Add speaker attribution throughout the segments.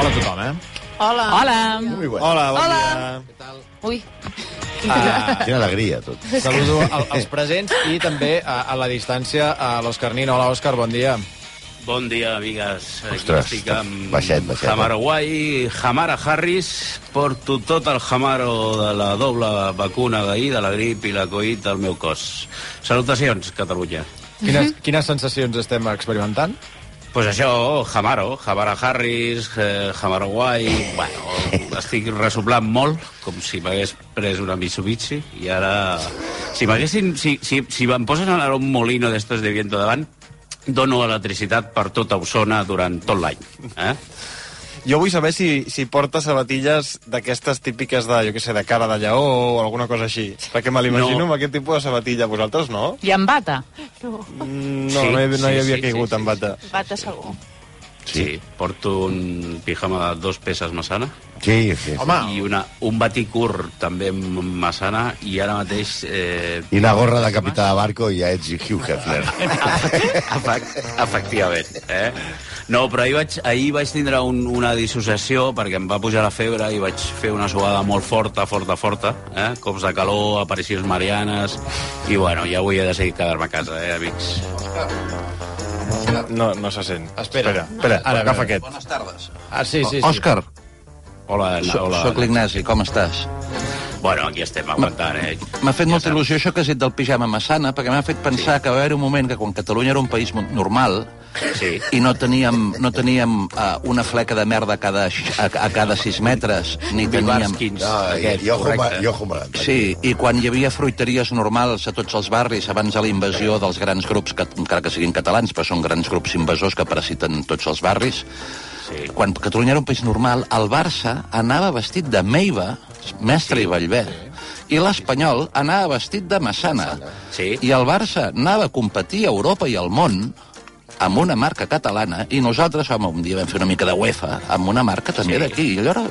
Speaker 1: eh?
Speaker 2: dona.
Speaker 3: Hola.
Speaker 4: Hola.
Speaker 2: Muy bueno. Hola, bon
Speaker 3: Hola.
Speaker 2: dia.
Speaker 4: Ui.
Speaker 2: Ah, quina alegria, tot.
Speaker 1: Saludo al, als presents i també a, a la distància a l'Òscar Nina. Hola, Òscar, bon dia.
Speaker 5: Bon dia, amigues. Aquí
Speaker 2: Ostres,
Speaker 5: estic amb
Speaker 2: baixet, baixet. eh?
Speaker 5: Hamaro Guai, Hamara Harris. Porto tot el Hamaro de la doble vacuna d'ahir, de la grip i la coït al meu cos. Salutacions, Catalunya.
Speaker 1: Quines, quines sensacions estem experimentant?
Speaker 5: Pues això, Hamaro, Hamara Harris, eh, Hamaro Guai... Bueno, estic ressoplant molt, com si m'hagués pres una Mitsubishi, i ara... Si m'haguessin... Si, si, si em posen ara un molino d'estos de viento davant, dono electricitat per tota Osona durant tot l'any. Eh?
Speaker 1: Jo vull saber si, si porta sabatilles d'aquestes típiques de, jo què sé, de cara de lleó o alguna cosa així. Perquè me l'imagino
Speaker 5: No.
Speaker 1: amb aquest tipus de sabatilla. Vosaltres no?
Speaker 4: I amb bata.
Speaker 1: Mm, No,
Speaker 5: Sí,
Speaker 1: no, hi, no hi
Speaker 5: sí,
Speaker 1: havia
Speaker 5: sí,
Speaker 1: caigut
Speaker 5: sí,
Speaker 1: en
Speaker 5: sí,
Speaker 1: bata.
Speaker 3: Bata segur.
Speaker 5: Sí. sí, porto un pijama de dos peces massana
Speaker 2: Sí, sí. Home.
Speaker 1: Home,
Speaker 5: i una, un batí curt també amb massana i ara mateix... Eh,
Speaker 2: I la gorra de capità de barco i ja ets Hugh Hefner.
Speaker 5: Efect, efectivament, eh? No, però ahir vaig, ahir vaig tindre un, una dissociació perquè em va pujar la febre i vaig fer una suada molt forta, forta, forta, eh? Cops de calor, aparicions marianes... I bueno, ja avui he decidit quedar-me a casa, eh, amics?
Speaker 1: no, no se sent.
Speaker 6: Espera.
Speaker 1: espera, espera
Speaker 6: Ara,
Speaker 1: ara, agafa
Speaker 6: a veure.
Speaker 1: aquest.
Speaker 7: Bones tardes.
Speaker 1: Ah, sí, sí, sí.
Speaker 6: Òscar,
Speaker 5: Hola,
Speaker 7: So,
Speaker 5: hola.
Speaker 7: Soc l'Ignasi, com estàs?
Speaker 5: Bueno, aquí estem aguantant, eh?
Speaker 7: M'ha fet molta il·lusió això que has dit del pijama massana, perquè m'ha fet pensar sí. que va haver un moment que quan Catalunya era un país mon- normal
Speaker 5: Sí.
Speaker 7: i no teníem, no teníem uh, una fleca de merda a cada, x- a, a cada 6 metres, ni teníem...
Speaker 5: Bibarskins,
Speaker 2: Ah, i,
Speaker 5: aquest,
Speaker 2: i ojo, ma,
Speaker 5: correcte.
Speaker 2: i ojo malalt.
Speaker 7: Sí, i quan hi havia fruiteries normals a tots els barris abans de la invasió dels grans grups, que, encara que siguin catalans, però són grans grups invasors que parasiten tots els barris,
Speaker 5: Sí.
Speaker 7: quan Catalunya era un país normal, el Barça anava vestit de Meiva, mestre sí, i Vallver, sí. i l'Espanyol anava vestit de Massana.
Speaker 5: Sí.
Speaker 7: I el Barça anava a competir a Europa i al món amb una marca catalana, i nosaltres, home, un dia vam fer una mica de UEFA amb una marca també sí. d'aquí. I allò era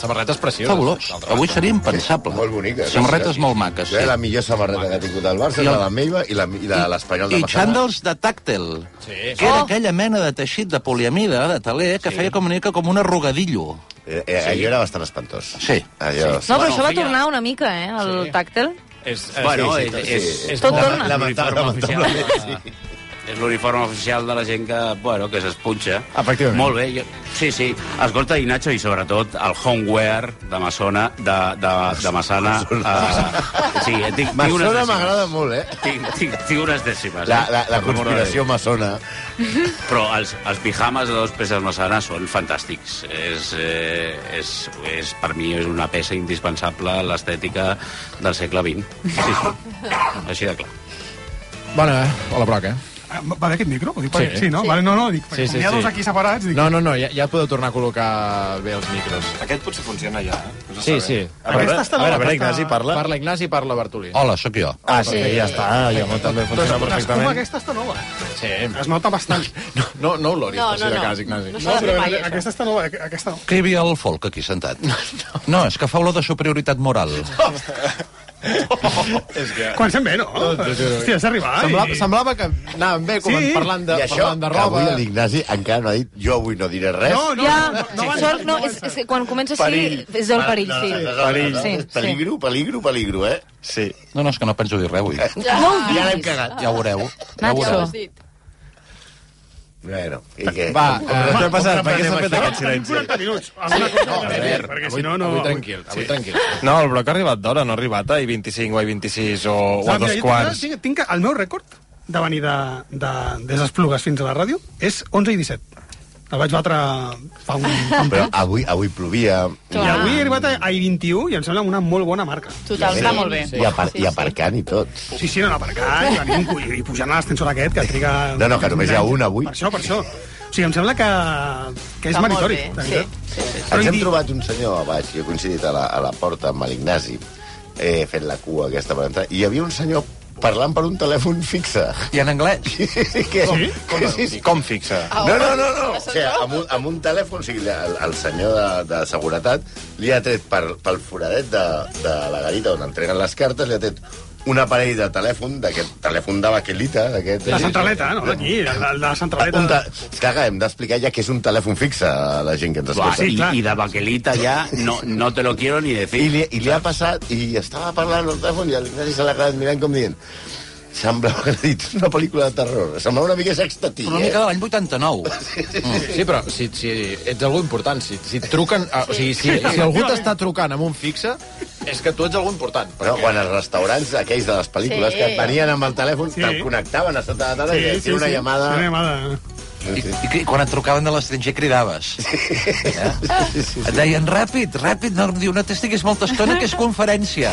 Speaker 1: Samarretes precioses.
Speaker 7: fabulós. Avui seria impensable.
Speaker 2: Molt bonica.
Speaker 7: Samarretes molt maques.
Speaker 2: Sí.
Speaker 7: Sí.
Speaker 2: La millor samarreta que ha tingut el Barça,
Speaker 7: I
Speaker 2: I
Speaker 7: el-
Speaker 2: la meva i la- i la- l'Espanyol de
Speaker 7: I
Speaker 2: Massana.
Speaker 7: xandals de tàctel, sí. que era aquella mena de teixit de poliamida, de taler, que sí. feia com una mica com un arrugadillo.
Speaker 2: Eh, eh, allò era bastant espantós.
Speaker 7: Sí.
Speaker 2: Allò...
Speaker 4: No, però
Speaker 5: Bueno,
Speaker 4: això va
Speaker 5: feia-
Speaker 4: tornar una mica, eh, el tàctel.
Speaker 1: És,
Speaker 5: Eh, Bueno,
Speaker 1: sí,
Speaker 5: sí,
Speaker 1: sí,
Speaker 5: és, és, és,
Speaker 4: Tot
Speaker 5: molt-
Speaker 4: torna.
Speaker 5: l'uniforme oficial. de- És l'uniforme oficial de la gent que, bueno, que s'espunxa.
Speaker 1: Efectivament.
Speaker 5: Molt bé. Jo, sí, sí. Escolta, Ignacio, i sobretot el homeware de Massona, de, de, de Massana. Uh, sí, tinc, tinc unes
Speaker 2: Massona
Speaker 5: dècimes.
Speaker 2: m'agrada molt, eh?
Speaker 5: Tinc, tinc, tinc unes dècimes.
Speaker 2: La,
Speaker 5: eh?
Speaker 2: la, la
Speaker 5: Per l'amor de
Speaker 2: conspiració maçona.
Speaker 5: Déu. Però els, els pijames de dos peces Massana són fantàstics. És, eh, és, és, per mi és una peça indispensable a l'estètica del segle XX. Sí, sí. Així de clar.
Speaker 1: Bona, hola, Broc, eh?
Speaker 8: Ah, Va bé aquest micro? Ho dic perquè...
Speaker 1: Sí.
Speaker 8: Sí, no? Vale, no, no, dic,
Speaker 1: Sí,
Speaker 8: sí,
Speaker 1: sí,
Speaker 8: sí, hi ha dos
Speaker 1: sí.
Speaker 8: aquí separats, dic, no.
Speaker 1: No, no, no, ja, ja podeu tornar a col·locar bé els micros.
Speaker 6: aquest potser funciona ja. eh? No
Speaker 1: Sí, sí.
Speaker 8: A veure, Aquesta està a veure, a veure, nova, Ignasi,
Speaker 1: Ignasi,
Speaker 8: està-
Speaker 1: parla. Parla Ignasi i parla Bartolí.
Speaker 7: Hola, sóc jo.
Speaker 1: Ah, sí, ja està. Ja no, també funciona
Speaker 8: l'escuma aquesta està nova.
Speaker 1: Sí.
Speaker 8: Es nota bastant.
Speaker 1: No, no oloris,
Speaker 3: No,
Speaker 1: no,
Speaker 3: no,
Speaker 1: no, de
Speaker 3: no.
Speaker 1: cas, Ignasi.
Speaker 3: No
Speaker 8: No,
Speaker 3: s'ha de
Speaker 8: però
Speaker 3: fer mai, això.
Speaker 8: aquesta està nova, aqu- aquesta no.
Speaker 7: Que hi havia el folk aquí sentat. No, és que fa olor de superioritat moral.
Speaker 1: És que...
Speaker 8: Quan se'n ve, no?
Speaker 1: t'ho juro.
Speaker 8: Hòstia, has arribat. eh?
Speaker 1: Semblava,
Speaker 8: i-
Speaker 1: semblava que anàvem bé com
Speaker 8: Sí.
Speaker 1: parlant, de,
Speaker 2: I això,
Speaker 1: parlant de
Speaker 2: que
Speaker 1: roba.
Speaker 2: avui l'Ignasi encara no ha dit jo avui no diré res.
Speaker 8: No, no,
Speaker 4: ja,
Speaker 8: no, no,
Speaker 4: no,
Speaker 8: no,
Speaker 4: sort, no,
Speaker 8: no,
Speaker 4: és, és que quan comença així
Speaker 2: Perill.
Speaker 4: és el perill, sí.
Speaker 2: Perill.
Speaker 4: Sí,
Speaker 2: Sí,
Speaker 4: sí.
Speaker 2: peligro, peligro, peligro, eh?
Speaker 1: Sí.
Speaker 7: No, no, és que no penso dir res avui.
Speaker 4: No ho
Speaker 2: I ara hem
Speaker 4: diguis.
Speaker 2: cagat.
Speaker 7: Ja ho veureu. Ja ho
Speaker 4: Nacho.
Speaker 7: veureu.
Speaker 2: Bueno, i què?
Speaker 1: Va, eh,
Speaker 2: què ha passat? Per què s'ha fet
Speaker 8: Però tenim 40 minuts. Alguna cosa hem de dir, perquè si no, Ah, no...
Speaker 1: Avui tranquil, avui tranquil.
Speaker 6: No, el Broc ha arribat d'hora, no ha arribat a 25 o a 26 o, o a
Speaker 8: Saps, mira,
Speaker 6: dos
Speaker 8: jo
Speaker 6: quarts.
Speaker 8: Tinc, tinc, el meu rècord de venir de, de, des d'Esplugues fins a la ràdio és 11 i 17. El vaig batre fa un... fa un
Speaker 2: Però avui, avui plovia...
Speaker 8: I avui he arribat a, a 21 i em sembla una molt bona marca.
Speaker 4: Total, està molt bé.
Speaker 2: I, apar I aparcant i tot.
Speaker 8: Sí, sí, no, no, per acá, i, venint, cu- i pujant a l'ascensor aquest, que triga...
Speaker 2: No, no, que només hi ha un avui.
Speaker 8: Per això, per això. O sigui, em sembla que, que és
Speaker 3: Està molt
Speaker 8: meritori.
Speaker 3: bé,
Speaker 8: de
Speaker 3: sí.
Speaker 8: veritat. Però
Speaker 2: Ens hem
Speaker 8: i-
Speaker 2: trobat un senyor a baix, jo he coincidit a la, a la porta amb l'Ignasi, eh, fent la cua aquesta per entrar, i hi havia un senyor parlant per un telèfon fixe.
Speaker 7: I en anglès.
Speaker 2: que, sí? Que, sí, sí.
Speaker 6: Com fixa?
Speaker 2: No, no, no, no.
Speaker 4: Ah,
Speaker 2: O sigui, amb, un, amb un telèfon, o sigui, el, el senyor de, de seguretat li ha tret per, pel foradet de, de la garita on entreguen les cartes, li ha tret un aparell de telèfon, d'aquest telèfon de baquelita, d'aquest...
Speaker 8: La centraleta, no? D'aquí, la, la centraleta.
Speaker 2: Un te... Caga, hem d'explicar ja que és un telèfon fixe a la gent que ens
Speaker 5: Buah,
Speaker 2: escolta.
Speaker 8: sí,
Speaker 5: i,
Speaker 8: clar.
Speaker 5: I de baquelita ja no, no te lo quiero ni decir.
Speaker 2: I li, I li ha passat, i estava parlant al telèfon, i el Ignasi se l'ha quedat mirant com dient... Sembla que ha dit una pel·lícula de terror. Sembla una mica sextatí,
Speaker 7: Una
Speaker 2: eh?
Speaker 7: mica de l'any 89.
Speaker 6: Sí, però si, si ets algú important, si, si et truquen... a- O sigui, si, si algú t'està trucant amb un fixe, és que tu ets algú important.
Speaker 2: No, quan els restaurants aquells de les pel·lícules
Speaker 4: Sí.
Speaker 2: que et venien amb el telèfon,
Speaker 8: Sí.
Speaker 2: sí. te'l connectaven a sota de la taula sí, i sí, eh, una sí. llamada...
Speaker 8: Sí, una llamada.
Speaker 7: I, i, que- quan et trucaven de l'estranger cridaves. Eh? Et deien, ràpid, ràpid, no, diu, no t'estiguis molta estona, que és conferència.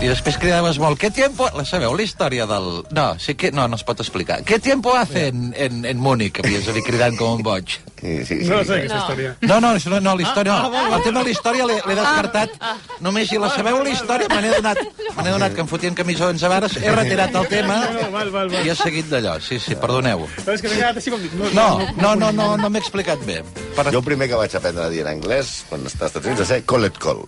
Speaker 7: I després cridaves molt, ¿qué tiempo...? La sabeu, la història del... No, sí que... No, no es pot explicar. ¿Qué tiempo hace en, en, en Múnich? Havies de dir cridant com un boig.
Speaker 2: Sí, sí, sí.
Speaker 8: No
Speaker 4: No.
Speaker 8: sé aquesta història.
Speaker 7: No, no, això no, no la història,
Speaker 6: Ah,
Speaker 7: no. El tema de la història l'he l'he descartat. Només si la sabeu, la història, me n'he donat, me n'he donat que em fotien camisó 11 vares, he retirat el tema
Speaker 8: No, val, val, val.
Speaker 7: i he seguit d'allò. Sí, sí, perdoneu.
Speaker 8: Però és que m'he quedat així com... dic,
Speaker 7: No, no, no, no, no m'he explicat bé. Per...
Speaker 2: Jo el primer que vaig aprendre a dir en anglès, quan estava als Estats Units, va ser call it call.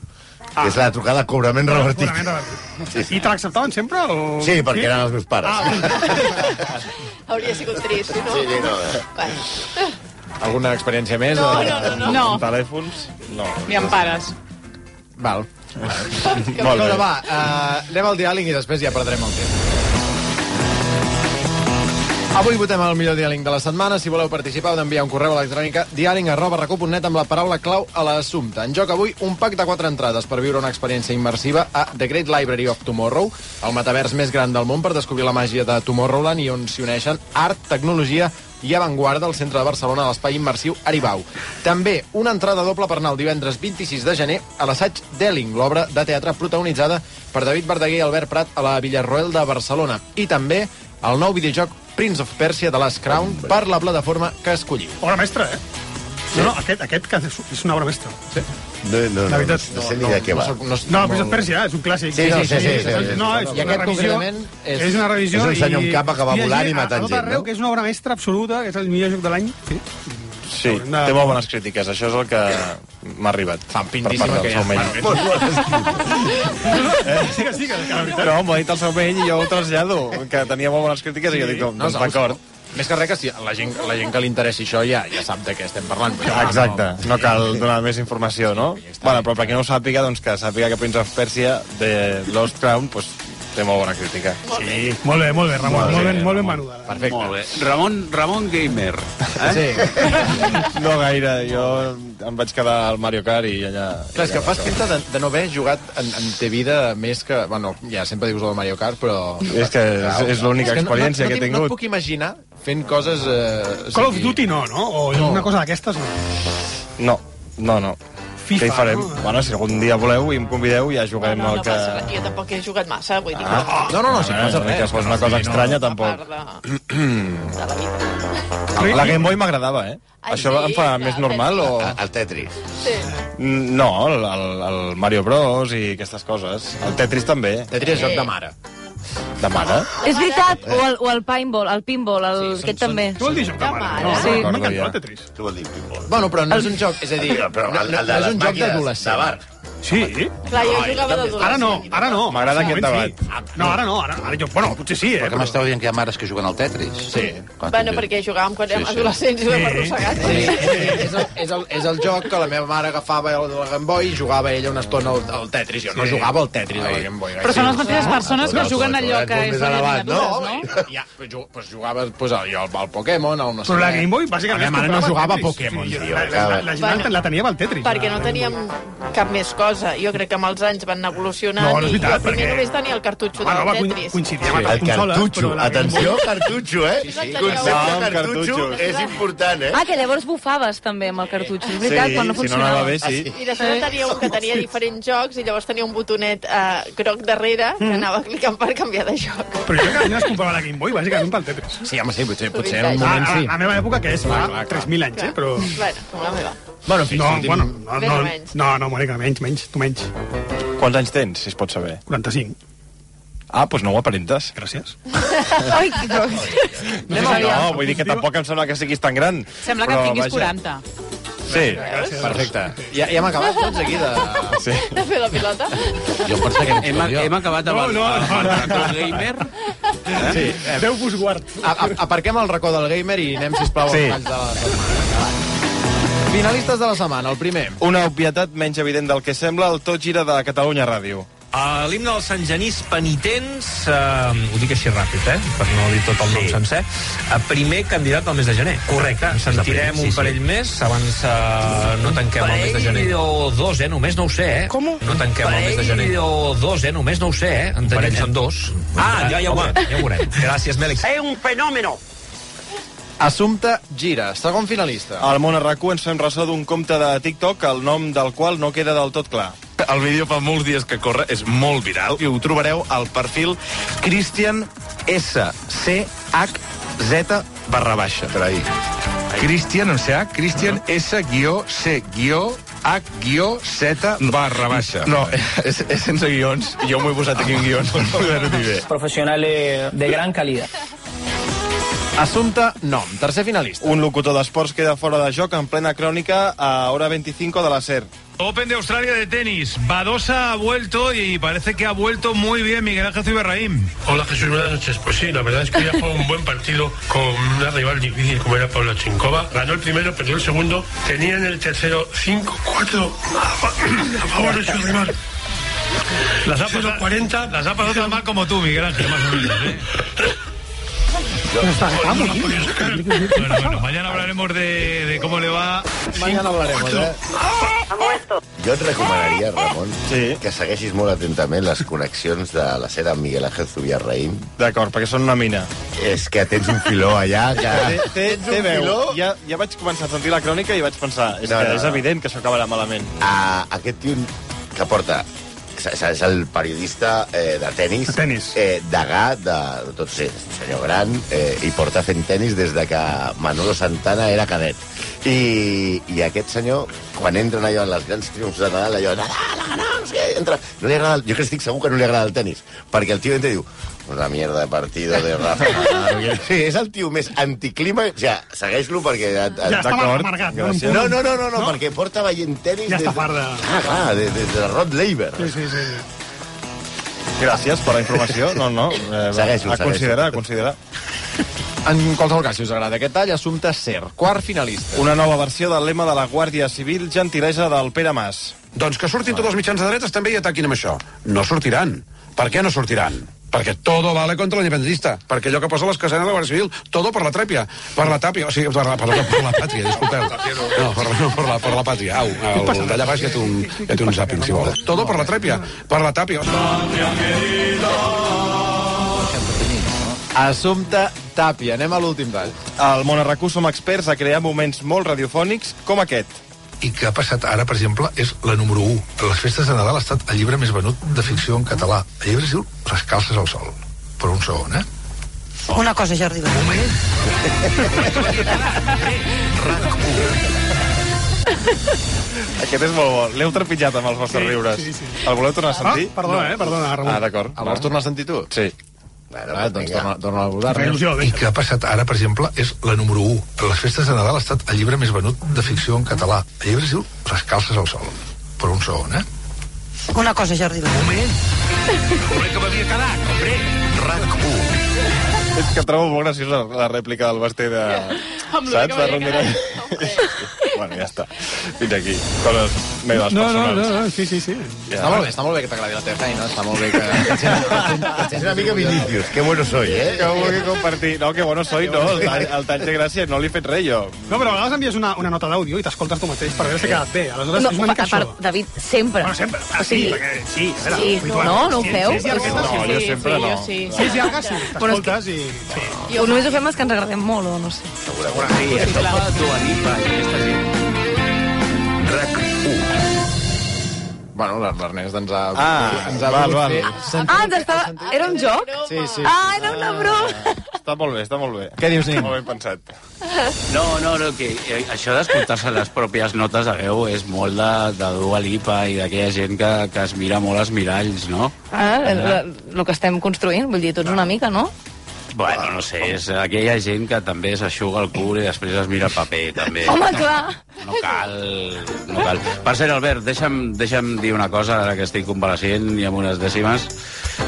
Speaker 2: Ah. És la trucada cobrament revertit.
Speaker 8: Purament
Speaker 2: Sí,
Speaker 8: revertit.
Speaker 2: sí.
Speaker 8: I te l'acceptaven sempre? O...
Speaker 2: Sí, perquè eren els meus pares. Ah,
Speaker 3: Hauria sigut trist, no?
Speaker 2: sí, sí, no.
Speaker 3: Vale.
Speaker 6: Alguna experiència més? No, no,
Speaker 4: no. No.
Speaker 6: Telèfons? No.
Speaker 4: Ni em pares.
Speaker 6: Val. Molt bé. Va, uh, anem al diàling i després ja perdrem el temps. Avui votem el millor diàling de la setmana. Si voleu participar, heu d'enviar un correu electrònic a diàling arroba recu.net amb la paraula clau a l'assumpte. En joc avui, un pack de quatre entrades per viure una experiència immersiva a The Great Library of Tomorrow, el metavers més gran del món per descobrir la màgia de Tomorrowland i on s'hi uneixen art, tecnologia i avantguarda al centre de Barcelona a l'espai immersiu Aribau. També una entrada doble per anar el divendres 26 de gener a l'assaig Delling, l'obra de teatre protagonitzada per David Verdaguer i Albert Prat a la Villarroel de Barcelona. I també el nou videojoc Prince of Persia de Last Crown per la plataforma que escolli.
Speaker 8: Obra mestra, eh? No, no, aquest, aquest que és és una obra mestra. Sí.
Speaker 2: No, no,
Speaker 8: La
Speaker 2: no, no,
Speaker 8: veritat,
Speaker 2: no sé ni de què va.
Speaker 6: soc- soc
Speaker 8: No,
Speaker 6: molt-
Speaker 8: Prince of Persia és un clàssic.
Speaker 2: Sí, no, sí, sí, sí, sí.
Speaker 8: No, és
Speaker 2: I
Speaker 8: una
Speaker 6: aquest
Speaker 8: revisió,
Speaker 6: concretament és-
Speaker 8: és una revisió...
Speaker 2: és un senyor
Speaker 8: i-
Speaker 2: amb capa que va
Speaker 8: hi ha
Speaker 2: volant
Speaker 8: gent
Speaker 2: i matant
Speaker 8: a tot
Speaker 2: gent,
Speaker 8: arreu,
Speaker 2: no?
Speaker 8: Que és una obra mestra absoluta, que és el millor joc de l'any. Sí.
Speaker 1: Sí,
Speaker 8: No.
Speaker 1: té molt bones crítiques, això és el que m'ha arribat. Fan
Speaker 6: pintíssima que ja
Speaker 1: Saumell.
Speaker 2: Molt bon escrit.
Speaker 8: Sí, que sí, que, que la veritat...
Speaker 1: No, m'ho ha dit el Saumell i jo ho trasllado, que tenia molt bones crítiques i jo dic,
Speaker 6: No,
Speaker 1: doncs
Speaker 6: no,
Speaker 1: d'acord.
Speaker 6: Més que res, que si la gent, la gent que li interessi això ja ja sap de què estem parlant. Però ja,
Speaker 1: Exacte,
Speaker 6: no.
Speaker 1: no cal donar més informació, no? Bueno, però per qui no ho sàpiga, doncs que sàpiga que Prince of Persia de Lost Crown pues, té molt bona crítica.
Speaker 8: Sí, molt bé, molt bé, Ramon. Molt, ben, molt ben menuda.
Speaker 6: Perfecte.
Speaker 5: Molt bé. Ramon, Ramon Gamer. Eh?
Speaker 6: Sí.
Speaker 1: No gaire, jo em vaig quedar al Mario Kart i allà...
Speaker 6: Clar, és que fas pinta de, de no haver jugat en, en te vida més que... Bueno, ja sempre dius el Mario Kart, però...
Speaker 1: És que és, és l'única
Speaker 6: no-
Speaker 1: experiència
Speaker 6: no, no,
Speaker 1: que he
Speaker 6: No et
Speaker 1: tingut.
Speaker 6: puc imaginar fent coses... Eh,
Speaker 8: Call
Speaker 6: o
Speaker 8: of
Speaker 6: sigui,
Speaker 8: Duty no, no? O
Speaker 6: No.
Speaker 8: una cosa d'aquestes no.
Speaker 1: No, no, no.
Speaker 8: FIFA,
Speaker 1: Què hi farem?
Speaker 8: no?
Speaker 1: Bueno, si algun dia voleu i em convideu, ja
Speaker 3: No,
Speaker 1: jugarem
Speaker 3: no, no
Speaker 1: el que...
Speaker 3: passa res. Jo tampoc he jugat massa, vull dir que...
Speaker 6: No, no, no, si
Speaker 1: Ah,
Speaker 6: passa
Speaker 1: que
Speaker 6: res.
Speaker 1: fos una cosa estranya, tampoc.
Speaker 3: Part de... de la vida.
Speaker 1: La Game Boy m'agradava, eh?
Speaker 3: Ai,
Speaker 1: Això
Speaker 3: sí,
Speaker 1: em fa
Speaker 3: clar,
Speaker 1: més normal o... Mm,
Speaker 2: El Tetris.
Speaker 3: Sí.
Speaker 1: No, el, el, el Mario Bros i aquestes coses. El Tetris també,
Speaker 6: Tetris és joc de mare.
Speaker 1: de mare.
Speaker 4: És veritat, o el, o el pinball, el pinball, el, sí, aquest també.
Speaker 8: Tu vol dir joc de mare? No,
Speaker 4: Sí.
Speaker 8: no, m'encantava Tetris.
Speaker 2: Què vol dir, pinball?
Speaker 6: Bueno, però no és un joc, és a dir...
Speaker 2: Però
Speaker 6: no,
Speaker 2: el,
Speaker 6: no,
Speaker 2: el de
Speaker 6: no és
Speaker 2: les
Speaker 6: un joc
Speaker 2: màquines de
Speaker 6: d'adolescent.
Speaker 2: bar.
Speaker 8: Sí.
Speaker 3: Clar, jo jugava d'adolescent.
Speaker 8: Ara no, ara no.
Speaker 1: M'agrada aquest
Speaker 8: Moment, Sí. No, ara no, ara, ara jo, bueno, potser sí, eh?
Speaker 7: Perquè m'esteu dient que hi ha mares que juguen al Tetris. Sí.
Speaker 3: Bueno, perquè jugàvem quan érem
Speaker 7: Sí, sí.
Speaker 3: adolescents i ho hem
Speaker 8: Sí.
Speaker 3: arrossegat.
Speaker 6: Sí, és, el, és, el, és el joc que la meva mare agafava el de la Game Boy i jugava ella una estona al, al Tetris. Jo no jugava al Tetris a la Game Boy.
Speaker 4: Però són les mateixes persones que juguen allò que
Speaker 6: eh,
Speaker 4: és de les miniatures, no?
Speaker 6: no? Ja, però jo, pues jugava pues, al, al, al Pokémon, al no sé
Speaker 8: Però la
Speaker 6: què.
Speaker 8: Game Boy, bàsicament...
Speaker 6: La meva
Speaker 8: es
Speaker 6: mare no
Speaker 8: comprava
Speaker 6: jugava
Speaker 8: el
Speaker 6: a
Speaker 8: Tetris.
Speaker 6: Pokémon,
Speaker 8: Sí,
Speaker 6: tio.
Speaker 8: La, la, la, la gent
Speaker 3: Bueno.
Speaker 8: la teníem al Tetris.
Speaker 3: perquè
Speaker 8: la-
Speaker 3: no teníem cap més cosa. Jo crec que amb els anys van anar evolucionant
Speaker 8: No, no és
Speaker 3: i jo
Speaker 8: veritat,
Speaker 3: primer
Speaker 8: perquè-
Speaker 3: només tenia el cartutxo
Speaker 8: Bueno, va
Speaker 3: del
Speaker 8: coin-
Speaker 3: Tetris.
Speaker 8: coincidir amb
Speaker 2: El
Speaker 8: altres consoles,
Speaker 2: cartutxo,
Speaker 8: però la Game Boy-
Speaker 2: atenció, cartutxo, eh?
Speaker 3: Sí, sí.
Speaker 2: Concepte
Speaker 1: Ah,
Speaker 2: cartutxo
Speaker 1: cartutxos.
Speaker 2: és important, eh?
Speaker 4: Ah, que llavors bufaves també amb el cartutxo, és veritat, quan no
Speaker 1: si no
Speaker 4: funcionava.
Speaker 1: anava
Speaker 4: Ah,
Speaker 1: bé, sí.
Speaker 3: I després
Speaker 4: Sí.
Speaker 3: tenia un que tenia diferents jocs i llavors tenia un botonet eh, groc darrere
Speaker 8: Mm.
Speaker 3: que anava clicant per canviar de joc.
Speaker 8: Però jo cada dia es comprava la Game Boy, bàsicament pel Tetris.
Speaker 6: Sí, home, sí, potser, potser
Speaker 3: Ah,
Speaker 6: en un
Speaker 8: A,
Speaker 6: moment
Speaker 8: a,
Speaker 6: sí.
Speaker 8: a la meva època, que és
Speaker 6: Clar,
Speaker 8: fa
Speaker 6: clar, clar.
Speaker 8: 3.000 anys, eh? Però...
Speaker 3: Bueno, com la meva.
Speaker 6: Bueno, en fi,
Speaker 8: No,
Speaker 6: sortim-
Speaker 8: bueno, no,
Speaker 3: Més
Speaker 8: no,
Speaker 3: o menys.
Speaker 8: no, no, Mònica, menys, menys, tu menys.
Speaker 1: Quants anys tens, si es pot saber?
Speaker 8: 45,
Speaker 1: Ah, doncs no ho aparentes.
Speaker 8: gràcies.
Speaker 4: Ai, però...
Speaker 1: No, vull dir que tampoc em sembla que siguis tan gran.
Speaker 9: Sembla que en tinguis
Speaker 1: vaja.
Speaker 9: 40.
Speaker 1: Sí,
Speaker 3: Veus?
Speaker 6: Perfecte. Ja, ja hem acabat tots aquí de...
Speaker 1: sí.
Speaker 8: Eh.
Speaker 3: De fer la pilota.
Speaker 7: Jo pensava que
Speaker 5: Hem, hem acabat amb el,
Speaker 8: No, no, no.
Speaker 5: amb el racó gamer.
Speaker 6: Sí.
Speaker 8: Déu-vos guard.
Speaker 6: A, a, aparquem el racó del gamer i anem, sisplau,
Speaker 1: Sí.
Speaker 6: als balls de la setmana. Va. Finalistes de la setmana, el primer.
Speaker 1: Una obvietat menys evident del que sembla, el tot gira de Catalunya Ràdio.
Speaker 9: A l'himne del Sant Genís Penitents, eh, ho dic així ràpid, eh, per no dir tot el nom sí. sencer, eh, primer candidat del mes de gener. Correcte. En sentirem sí, un parell sí. més abans eh, no tanquem parell el mes de gener. Parell o dos, eh, només no ho sé, eh. Com? No tanquem parell el mes de gener. Parell o dos, eh, només no ho sé, eh. En parell són dos. Ah, ja, ja ho veurem. Ja ho veurem. Gràcies, Mèlix.
Speaker 6: Assumpte Gira, segon finalista.
Speaker 1: Al món RAC1 ens fem ressò d'un compte de TikTok, el nom del qual no queda del tot clar.
Speaker 10: El vídeo fa molts dies que corre, és molt viral, i ho trobareu al perfil Christian S. C. H. Z. barra baixa.
Speaker 2: Però ahir.
Speaker 10: Christian, o sea, Christian S. guió C. guió H. guió Z. barra baixa. No, és, és sense guions. Jo m'ho he posat aquí en guions, no poder-ho dir bé.
Speaker 11: Profesionales de gran calidad.
Speaker 6: Assumpte Nom, tercer finalista.
Speaker 1: Un locutor d'esports queda fora de joc en plena crònica a hora 25 de la SER.
Speaker 9: Open de Australia de tenis. Badosa ha vuelto y parece que ha vuelto muy bien Miguel Ángel Ciberraín.
Speaker 11: Hola Jesús, buenas noches. Pues sí, la verdad es que hoy ha jugado un buen partido con una rival difícil como era Paula Chinkova. Ganó el primero, perdió el segundo. Tenía en el tercero 5-4 a fa- a favor de su rival.
Speaker 9: Las ha
Speaker 11: 0-40.
Speaker 9: Las ha pasado tan mal como tú, Miguel Ángel, más o menos. ¿eh? Bueno, bueno, mañana hablaremos de, de cómo le va.
Speaker 6: Mañana hablaremos, eh?
Speaker 2: Jo et recomanaria, Ramon,
Speaker 1: Sí.
Speaker 2: que segueixis molt atentament les connexions de la cera amb Miguel Ángel Zubiarraín.
Speaker 1: D'acord, perquè són una mina.
Speaker 2: És que tens un filó allà
Speaker 1: Té,
Speaker 2: que...
Speaker 1: té, té veu.
Speaker 2: Ah. filó?
Speaker 1: Ja, ja vaig començar a sentir la crònica i vaig pensar, és,
Speaker 2: No,
Speaker 1: que
Speaker 2: no,
Speaker 1: és
Speaker 2: no.
Speaker 1: evident que això acabarà malament.
Speaker 2: a aquest tio que porta és- és és el periodista eh, de tennis,
Speaker 8: De tennis.
Speaker 2: Eh, degà de tot ser senyor gran eh, i porta fent tennis des de que Manolo Santana era cadet i, i aquest senyor quan entren allò en les grans triomfs de Nadal allò, Nadal, Nadal, sí, entra no li agrada, el- jo que estic segur que no li agrada el tennis perquè el tio entra i diu una mierda de partido de Rafa Nadal. sí, és el tio més anticlima o sigui, segueix-lo perquè et, et,
Speaker 8: Ja està
Speaker 1: D'acord,
Speaker 8: amargat.
Speaker 1: gràcies.
Speaker 2: no, no, no, no, no, perquè porta veient tenis...
Speaker 8: Ja
Speaker 2: des
Speaker 8: està
Speaker 2: de-
Speaker 8: fart de-
Speaker 2: Ah, clar, des de, de Rod Laver.
Speaker 8: Sí, sí, sí.
Speaker 1: Gràcies per la informació. No, no. Eh,
Speaker 2: Segueixo,
Speaker 1: a
Speaker 2: segueixo.
Speaker 1: considerar, a considerar.
Speaker 6: En qualsevol cas, si us agrada aquest tall, assumpte ser. Quart finalista.
Speaker 1: Una nova versió del lema de la Guàrdia Civil, gentilesa del Pere Mas.
Speaker 10: Doncs que surtin tots els mitjans de dretes també i ataquin amb això. No sortiran. Per què no sortiran? Perquè todo vale contra l'independentista. Perquè allò que posa les casenes de la Guàrdia Civil, todo per la trèpia. Per la tàpia, o sigui, per la, per la, per la pàtria, disculpeu. No, per, no, per, la, per la pàtria. Au, el, d'allà baix ja té un, ja té un zàping, si vol. Todo per la trèpia, per la tàpia.
Speaker 6: Assumpte Tàpia. Anem a l'últim tall.
Speaker 1: Al Monarracú som experts a crear moments molt radiofònics com aquest.
Speaker 11: i que ha passat ara, per exemple, és la número 1. A les festes de Nadal ha estat el llibre més venut de ficció en català. El llibre es diu Les calces al sol. Per un segon, eh?
Speaker 12: Oh. Una cosa, Jordi.
Speaker 1: Aquest és molt bo. L'heu trepitjat amb els vostres
Speaker 8: Sí,
Speaker 1: riures.
Speaker 8: sí, sí.
Speaker 1: El voleu tornar a
Speaker 8: Ah,
Speaker 1: sentir?
Speaker 8: perdona, eh? Perdona, Ramon.
Speaker 1: Ah, d'acord.
Speaker 6: El vols tornar a sentir tu?
Speaker 1: Sí.
Speaker 2: Bueno,
Speaker 6: Ah, doncs torna, torna a
Speaker 8: Fa
Speaker 6: abordar-nos.
Speaker 8: il·lusió,
Speaker 11: I
Speaker 8: deixa.
Speaker 11: que ha passat ara, per exemple, és la número 1. A les festes de Nadal ha estat el llibre més venut de ficció en català. El llibre es diu Les calces al sol. Per un segon, eh?
Speaker 12: Una cosa, Jordi.
Speaker 1: És que trobo molt graciosa la rèplica del Basté de...
Speaker 3: Amb lo
Speaker 1: Saps?
Speaker 3: que
Speaker 1: De
Speaker 3: m'havia
Speaker 1: Romero. bueno, ja està. Fins aquí. Coses meves
Speaker 8: No, no,
Speaker 1: personals.
Speaker 8: no, no, sí, sí, sí.
Speaker 6: Està molt bé, està molt bé que t'agradi la teva feina, està molt bé que...
Speaker 2: És una mica Vinicius, que bueno soy, eh?
Speaker 1: Que ho vulgui compartir. No, que bueno soy, no. El tall, el tall de gràcia no li he fet res, jo.
Speaker 8: No, però a vegades envies una, una nota d'àudio i t'escoltes tu mateix per veure si ha quedat bé. Aleshores,
Speaker 12: No,
Speaker 8: és una
Speaker 12: a
Speaker 8: mica això.
Speaker 12: part, David, sempre.
Speaker 8: Bueno, sempre. Ah, sí, perquè sí. a veure,
Speaker 12: Sí,
Speaker 8: vull dir,
Speaker 12: no, no ho
Speaker 8: sí,
Speaker 12: feu?
Speaker 8: Sí, sí,
Speaker 1: No,
Speaker 8: sí,
Speaker 1: jo sempre
Speaker 3: sí,
Speaker 1: no.
Speaker 3: Jo sí.
Speaker 8: sí, sí, algo sí. T'escoltes i... Sí.
Speaker 12: O només ho fem els que ens agradem molt, o no sé.
Speaker 5: Sí, això fa Dualipa i aquesta gent.
Speaker 6: Bueno, l'Er- l'Ernest ens ha...
Speaker 1: Ah,
Speaker 6: ens ha
Speaker 1: val,
Speaker 6: volgut
Speaker 1: val.
Speaker 6: fer sentir-
Speaker 12: Ah, ens estava... Era un joc?
Speaker 3: Broma.
Speaker 6: Sí, sí.
Speaker 12: Ah, era una broma!
Speaker 1: Està molt bé, està molt bé.
Speaker 6: Què dius, Nin?
Speaker 1: Molt ben pensat.
Speaker 5: No, no, no, que eh, això d'escoltar-se les pròpies notes de veu és molt de, de Dua Lipa i d'aquella gent que, que es mira molt als miralls, no?
Speaker 12: Ah, el, el, el que estem construint, vull dir, tots una mica, no?
Speaker 5: Bueno, no sé, és, aquí hi ha gent que també s'aixuga el cul i després es mira el paper, també.
Speaker 12: Home, clar.
Speaker 5: No cal, no cal. Per cert, Albert, deixa'm, deixa'm dir una cosa, ara que estic convalescent i amb unes dècimes.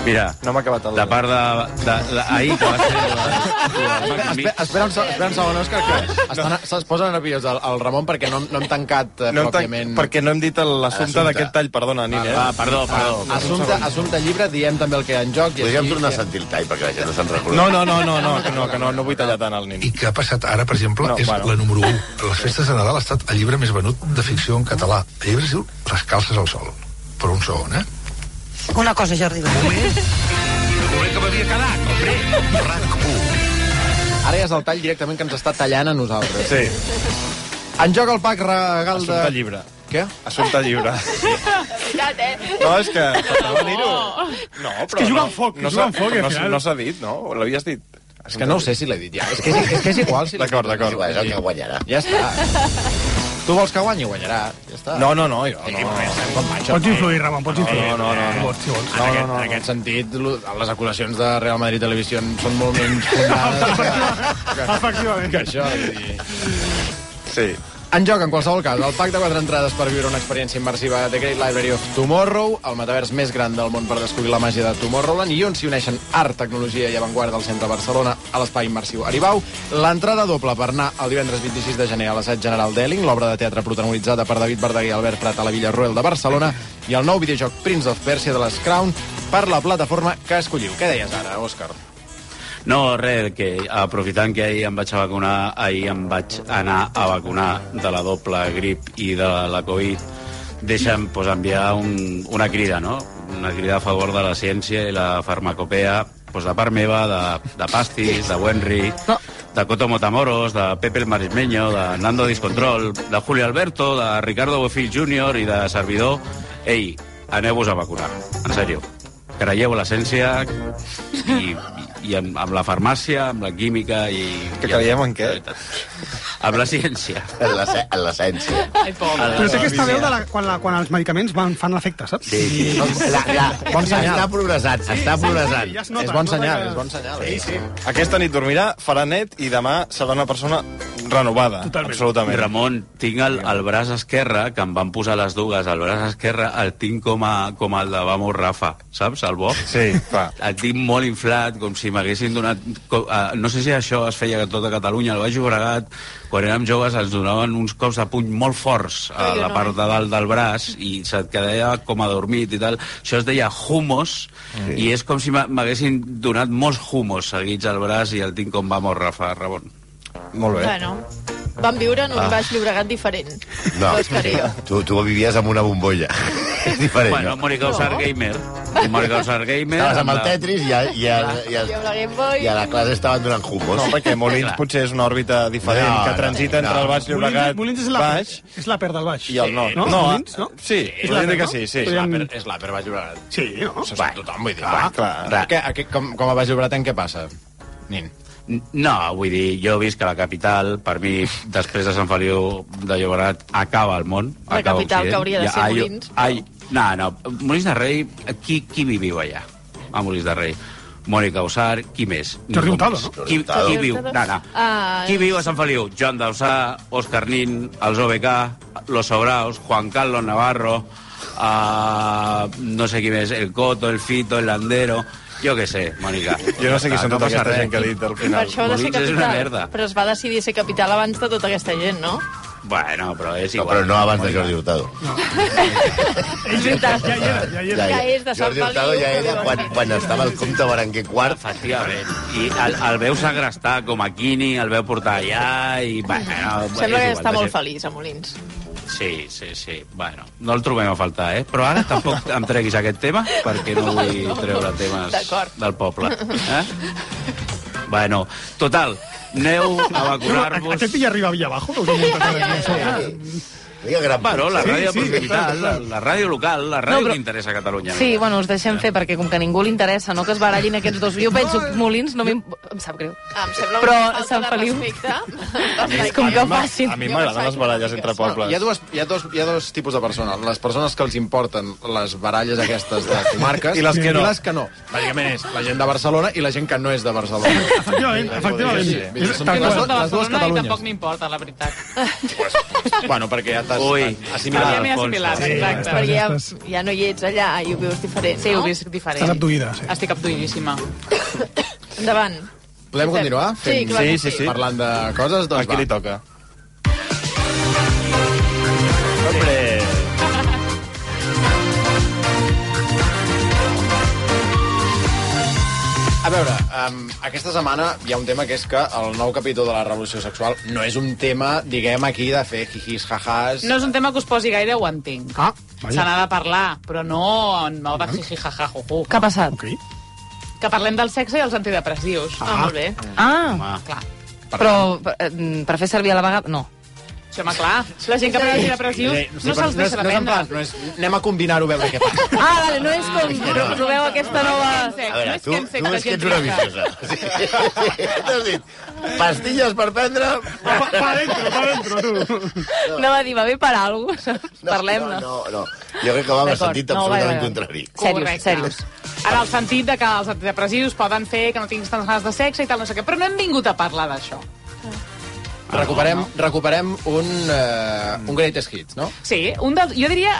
Speaker 5: Mira, no m'ha acabat el... De part de... de, de ahir, que va ser...
Speaker 6: Espera, espera, un, se- espera un segon, Òscar, que estan, es posa nerviós el, el Ramon perquè no, hem- no hem tancat eh,
Speaker 1: No hem tan-
Speaker 6: pròpiament...
Speaker 1: perquè no hem dit el- l'assumpte
Speaker 6: Assumpte.
Speaker 1: d'aquest tall, perdona, Nini. eh?
Speaker 6: Assumpte, assumpte llibre, diem també el que hi ha en joc. i
Speaker 1: Podríem
Speaker 6: així-
Speaker 1: tornar a
Speaker 2: sentir el tall, perquè la gent no se'n
Speaker 1: No, no, no, no, no, que no, que no, no vull tallar tant el nin.
Speaker 13: I que ha passat ara, per exemple,
Speaker 1: No,
Speaker 13: no, és
Speaker 1: bueno.
Speaker 13: bueno. la número 1. A les festes de Nadal ha estat el llibre més venut de ficció en català. El llibre es diu Les calces al sol. Però un segon, eh?
Speaker 14: Una cosa, Jordi.
Speaker 13: Moment que m'havia quedat, hombre.
Speaker 6: Ara ja és el tall directament que ens està tallant a nosaltres.
Speaker 1: Sí.
Speaker 6: En joc el pack regal de...
Speaker 1: Assumpte llibre.
Speaker 6: Què?
Speaker 1: Assumpte llibre.
Speaker 3: Veritat, eh?
Speaker 1: No, és que faltava dir-ho. No, però
Speaker 6: que juga
Speaker 1: no,
Speaker 6: amb foc,
Speaker 1: no
Speaker 6: juga
Speaker 1: s'ha-
Speaker 6: amb foc,
Speaker 1: però
Speaker 6: al
Speaker 1: no,
Speaker 6: final.
Speaker 1: s'ha- no s'ha dit, no? O L'havies dit? És
Speaker 6: que no ho sé si l'he dit ja. És que és- és que és igual si l'he
Speaker 1: D'acord,
Speaker 6: dit.
Speaker 1: d'acord.
Speaker 6: És Doncs igual, és el que
Speaker 2: guanyarà.
Speaker 6: Ja està. Tu vols que guanyi, guanyarà. Ja està.
Speaker 1: No, no, no, jo no.
Speaker 6: Pots
Speaker 8: influir, Ramon, pots
Speaker 6: influir.
Speaker 1: No, no, no. no.
Speaker 6: No, no, no. En aquest sentit, lo- les acusacions de Real Madrid Televisió són molt menys fundades que, que, que això. vull dir.
Speaker 1: Sí.
Speaker 6: En joc, en qualsevol cas, el pack de quatre entrades per viure una experiència immersiva de Great Library of Tomorrow, el metavers més gran del món per descobrir la màgia de Tomorrowland i on s'hi uneixen art, tecnologia i avantguarda al centre de Barcelona a l'espai immersiu Aribau. L'entrada doble per anar el divendres 26 de gener a l'assaig general d'Elling, l'obra de teatre protagonitzada per David Verdaguer i Albert Prat a la Villa Royal de Barcelona i el nou videojoc Prince of Persia de les Crown per la plataforma que escolliu. Què deies ara, Òscar?
Speaker 5: No, res, que aprofitant que ahir em vaig a vacunar, ahir em vaig anar a vacunar de la doble grip i de la Covid, deixa'm pues, enviar un, una crida, no? Una crida a favor de la ciència i la farmacopea, pues, de part meva, de, de Pastis, de Wenry, de Coto Motamoros, de Pepe el Marismeño, de Nando Discontrol, de Julio Alberto, de Ricardo Bofill Jr. i de Servidor. Ei, aneu-vos a vacunar, en sèrio. Creieu a l'essència i, i amb, amb la farmàcia, amb la química i...
Speaker 1: Que creiem en què?
Speaker 5: Amb la ciència.
Speaker 2: En l'essència.
Speaker 4: Ai, pobre.
Speaker 8: Però té aquesta veu de la, quan, la, quan els medicaments van, fan l'efecte, saps?
Speaker 2: Sí, sí. No, la, la,
Speaker 8: Bon senyal.
Speaker 2: està progressat, està progressat.
Speaker 8: ja es nota,
Speaker 2: és bon
Speaker 8: es nota
Speaker 2: senyal,
Speaker 8: que-
Speaker 2: és bon senyal.
Speaker 8: Sí, sí.
Speaker 1: Aquesta nit dormirà, farà net i demà serà una persona renovada. Totalment. Absolutament.
Speaker 5: Ramon, tinc el, el braç esquerre, que em van posar les dues, el braç esquerre el tinc com, a, com el de Vamos Rafa, saps, el Bob?
Speaker 1: Sí, clar.
Speaker 5: El tinc molt inflat, com si m'haguessin donat... Co, uh, no sé si això es feia a tota Catalunya, al Baix Llobregat, quan érem joves ens donaven uns cops de puny molt forts a
Speaker 1: Ai,
Speaker 5: la
Speaker 1: no.
Speaker 5: part de dalt del braç i se't quedava com adormit i tal. Això es deia humos, sí. i és com si m'ha- m'haguessin donat molts humos seguits al braç i el tinc com Vamos Rafa, Ramon.
Speaker 1: Molt
Speaker 3: Bueno, vam viure en un
Speaker 2: Ah.
Speaker 3: Baix Llobregat diferent.
Speaker 2: No,
Speaker 3: Dos Carrillo.
Speaker 2: tu, tu vivies amb una bombolla. És diferent.
Speaker 5: Bueno, Mónica Usar Gamer. Mónica Usar Gamer.
Speaker 2: Estaves amb el
Speaker 5: la-
Speaker 2: Tetris i, a, i, a, i, a,
Speaker 3: I amb la Game Boy...
Speaker 2: i a la classe estaven donant humos.
Speaker 1: No, perquè Molins
Speaker 2: Clar.
Speaker 1: potser és una òrbita diferent
Speaker 2: No,
Speaker 1: no, que
Speaker 2: no,
Speaker 1: transita
Speaker 2: no.
Speaker 1: no, entre el Baix Llobregat
Speaker 8: Molins és la,
Speaker 1: baix
Speaker 8: és la per del baix.
Speaker 1: i el nord.
Speaker 8: No?
Speaker 1: no,
Speaker 8: Molins, no?
Speaker 1: Sí,
Speaker 8: És
Speaker 1: podríem
Speaker 8: l'àper,
Speaker 1: dir que
Speaker 8: no?
Speaker 1: sí, sí.
Speaker 8: Podríem-
Speaker 6: És l'àper Baix Llobregat.
Speaker 8: Sí, no?
Speaker 6: Això és tothom, vull dir.
Speaker 5: clar, clar.
Speaker 6: Que, que, com, com a Baix Llobregat, en què passa? Nin.
Speaker 5: No, vull dir, jo visc a la capital, per mi, després de Sant Feliu de Llobregat, acaba el món.
Speaker 3: La
Speaker 5: acaba
Speaker 3: capital,
Speaker 5: Occident.
Speaker 3: que hauria de
Speaker 5: Ja,
Speaker 3: ser
Speaker 5: ai,
Speaker 3: Molins.
Speaker 5: Ai, no, no, Molins de Rei, qui, qui viviu allà? A Molins de Rei. Mònica Usar, qui més?
Speaker 8: Jordi
Speaker 5: Ningú
Speaker 8: Hurtado,
Speaker 5: més.
Speaker 8: no?
Speaker 5: Qui, qui viu? No, no.
Speaker 3: Ah,
Speaker 5: Qui viu a Sant Feliu? Joan Dausà, Òscar Nin, els OBK, Los Sobraos, Juan Carlos Navarro, uh, no sé qui més, el Coto, el Fito, el Landero... Jo què sé, Mònica.
Speaker 1: Jo no sé qui
Speaker 5: Ja està,
Speaker 1: són tota
Speaker 5: passa
Speaker 1: aquesta
Speaker 5: res.
Speaker 1: gent que ha dit al
Speaker 3: Per
Speaker 1: final.
Speaker 3: això va ser
Speaker 5: Molins és una
Speaker 3: capital.
Speaker 5: merda.
Speaker 3: Però es va decidir ser capital abans de tota aquesta gent, no?
Speaker 5: Bueno, però és
Speaker 2: No,
Speaker 5: igual.
Speaker 2: però no abans de Jordi Hurtado.
Speaker 3: És veritat. Ja, ja, ja, ja, ja és de Sant
Speaker 2: Jordi Hurtado
Speaker 3: Feliu.
Speaker 2: ja era
Speaker 3: que
Speaker 2: quan, quan estava el comte Berenguer IV.
Speaker 5: Efectivament. I el, el veu segrestar com a Quini, el veu portar allà i... Bueno,
Speaker 3: viu- Sembla
Speaker 5: és
Speaker 3: que
Speaker 5: igual,
Speaker 3: està
Speaker 5: de
Speaker 3: molt
Speaker 5: gent-
Speaker 3: feliç, a Molins.
Speaker 5: Sí, sí, sí. Bueno, no el trobem a faltar, eh? Però ara tampoc em treguis aquest tema, perquè no vull
Speaker 3: No, no,
Speaker 5: treure temes
Speaker 3: d'acord.
Speaker 5: del poble. Eh? Bueno, total, aneu a
Speaker 8: Però,
Speaker 5: vacunar-vos.
Speaker 8: Aquest ja arriba a Villa Bajo, que us hem muntat aquí a sobre.
Speaker 2: Vinga, gran
Speaker 5: Bueno, la
Speaker 2: Sí,
Speaker 5: ràdio
Speaker 2: sí,
Speaker 5: sí, proximitat,
Speaker 2: clar,
Speaker 5: la,
Speaker 2: clar.
Speaker 5: la ràdio local, la ràdio
Speaker 12: No, però-
Speaker 5: que interessa a Catalunya.
Speaker 12: Sí, bueno, us deixem fer, perquè com que a ningú li interessa, no?, que es barallin aquests dos. Jo penso, Molins, no m'im- em sap greu.
Speaker 3: Ah, Em sembla
Speaker 12: Però
Speaker 3: una
Speaker 12: Sant
Speaker 3: falta de
Speaker 12: Feliu-
Speaker 3: respecte.
Speaker 12: És com que facin.
Speaker 1: A mi m'agraden les baralles entre pobles.
Speaker 6: Hi ha, dues, hi, ha dos, hi ha dos tipus de persones. Les persones que els importen les baralles aquestes de
Speaker 1: I
Speaker 6: comarques...
Speaker 1: les que no.
Speaker 6: I les que no. Bàsicament és la gent de Barcelona i la gent que no és de Barcelona.
Speaker 8: Efectivament, efectivament.
Speaker 6: Sí, vull dir,
Speaker 8: És-
Speaker 6: són
Speaker 8: tal
Speaker 6: les,
Speaker 8: qual.
Speaker 6: dues-
Speaker 4: de
Speaker 6: les dues
Speaker 4: Barcelona i
Speaker 6: Catalunyes.
Speaker 4: tampoc m'importa, la veritat.
Speaker 6: Bueno, perquè ja t'has
Speaker 5: Ui.
Speaker 6: t'has assimilat.
Speaker 4: Ja m'he assimilat,
Speaker 6: Alfonso.
Speaker 4: exacte.
Speaker 3: Perquè ja, ja no hi ets allà i ho vius diferent,
Speaker 4: Sí,
Speaker 3: no?
Speaker 4: ho visc diferent.
Speaker 8: Estàs abduïda, sí.
Speaker 4: Estic abduïdíssima.
Speaker 3: Endavant.
Speaker 6: Podem continuar?
Speaker 3: Sí, clar que Sí, sí, sí. sí.
Speaker 6: Parlant de coses,
Speaker 1: A
Speaker 6: doncs
Speaker 1: qui
Speaker 6: va.
Speaker 1: li toca? Hombre!
Speaker 6: A veure, um, aquesta setmana hi ha un tema que és que el nou capítol de la revolució sexual no és un tema, diguem, aquí de fer jijis, jajàs...
Speaker 4: No és un tema que us posi gaire, ho entenc. Ah, Se
Speaker 6: vaja.
Speaker 4: n'ha de parlar, però no en mode jiji, jaja, juju.
Speaker 12: Què ha passat?
Speaker 4: Que parlem del sexe i els antidepressius.
Speaker 12: Ah, molt
Speaker 4: bé.
Speaker 12: Ah,
Speaker 4: clar.
Speaker 12: però eh, per fer servir a la vegada... No.
Speaker 4: Sí, home, clar. La gent que pren
Speaker 6: Eh,
Speaker 4: antidepressius no
Speaker 6: però
Speaker 4: se'ls deixa
Speaker 6: no és, no és en
Speaker 4: dependre.
Speaker 6: plan, no és, anem a combinar-ho a veure què passa.
Speaker 12: Ah, vale, no és com...
Speaker 6: no.
Speaker 12: Proveu aquesta nova...
Speaker 2: A veure, tu, tu és que ets una viciosa. Sí. T'has dit, pastilles per prendre... Pa,
Speaker 8: pa dentro, pa dentro, tu.
Speaker 12: No va dir, va bé per alguna cosa. Parlem-ne.
Speaker 2: No, no, jo crec que va amb el
Speaker 12: D'acord,
Speaker 2: sentit
Speaker 12: no,
Speaker 2: absolutament
Speaker 12: vale, vale.
Speaker 2: contrari.
Speaker 12: Serios,
Speaker 4: Correcte.
Speaker 12: serios.
Speaker 4: En el sentit de que els antidepressius poden fer que no tinguis tantes ganes de sexe i tal, no sé què. Però no hem vingut a parlar d'això.
Speaker 6: Ah, Recuperem, recuperem un, uh, un greatest hits, no?
Speaker 4: Sí, un dels... Jo diria...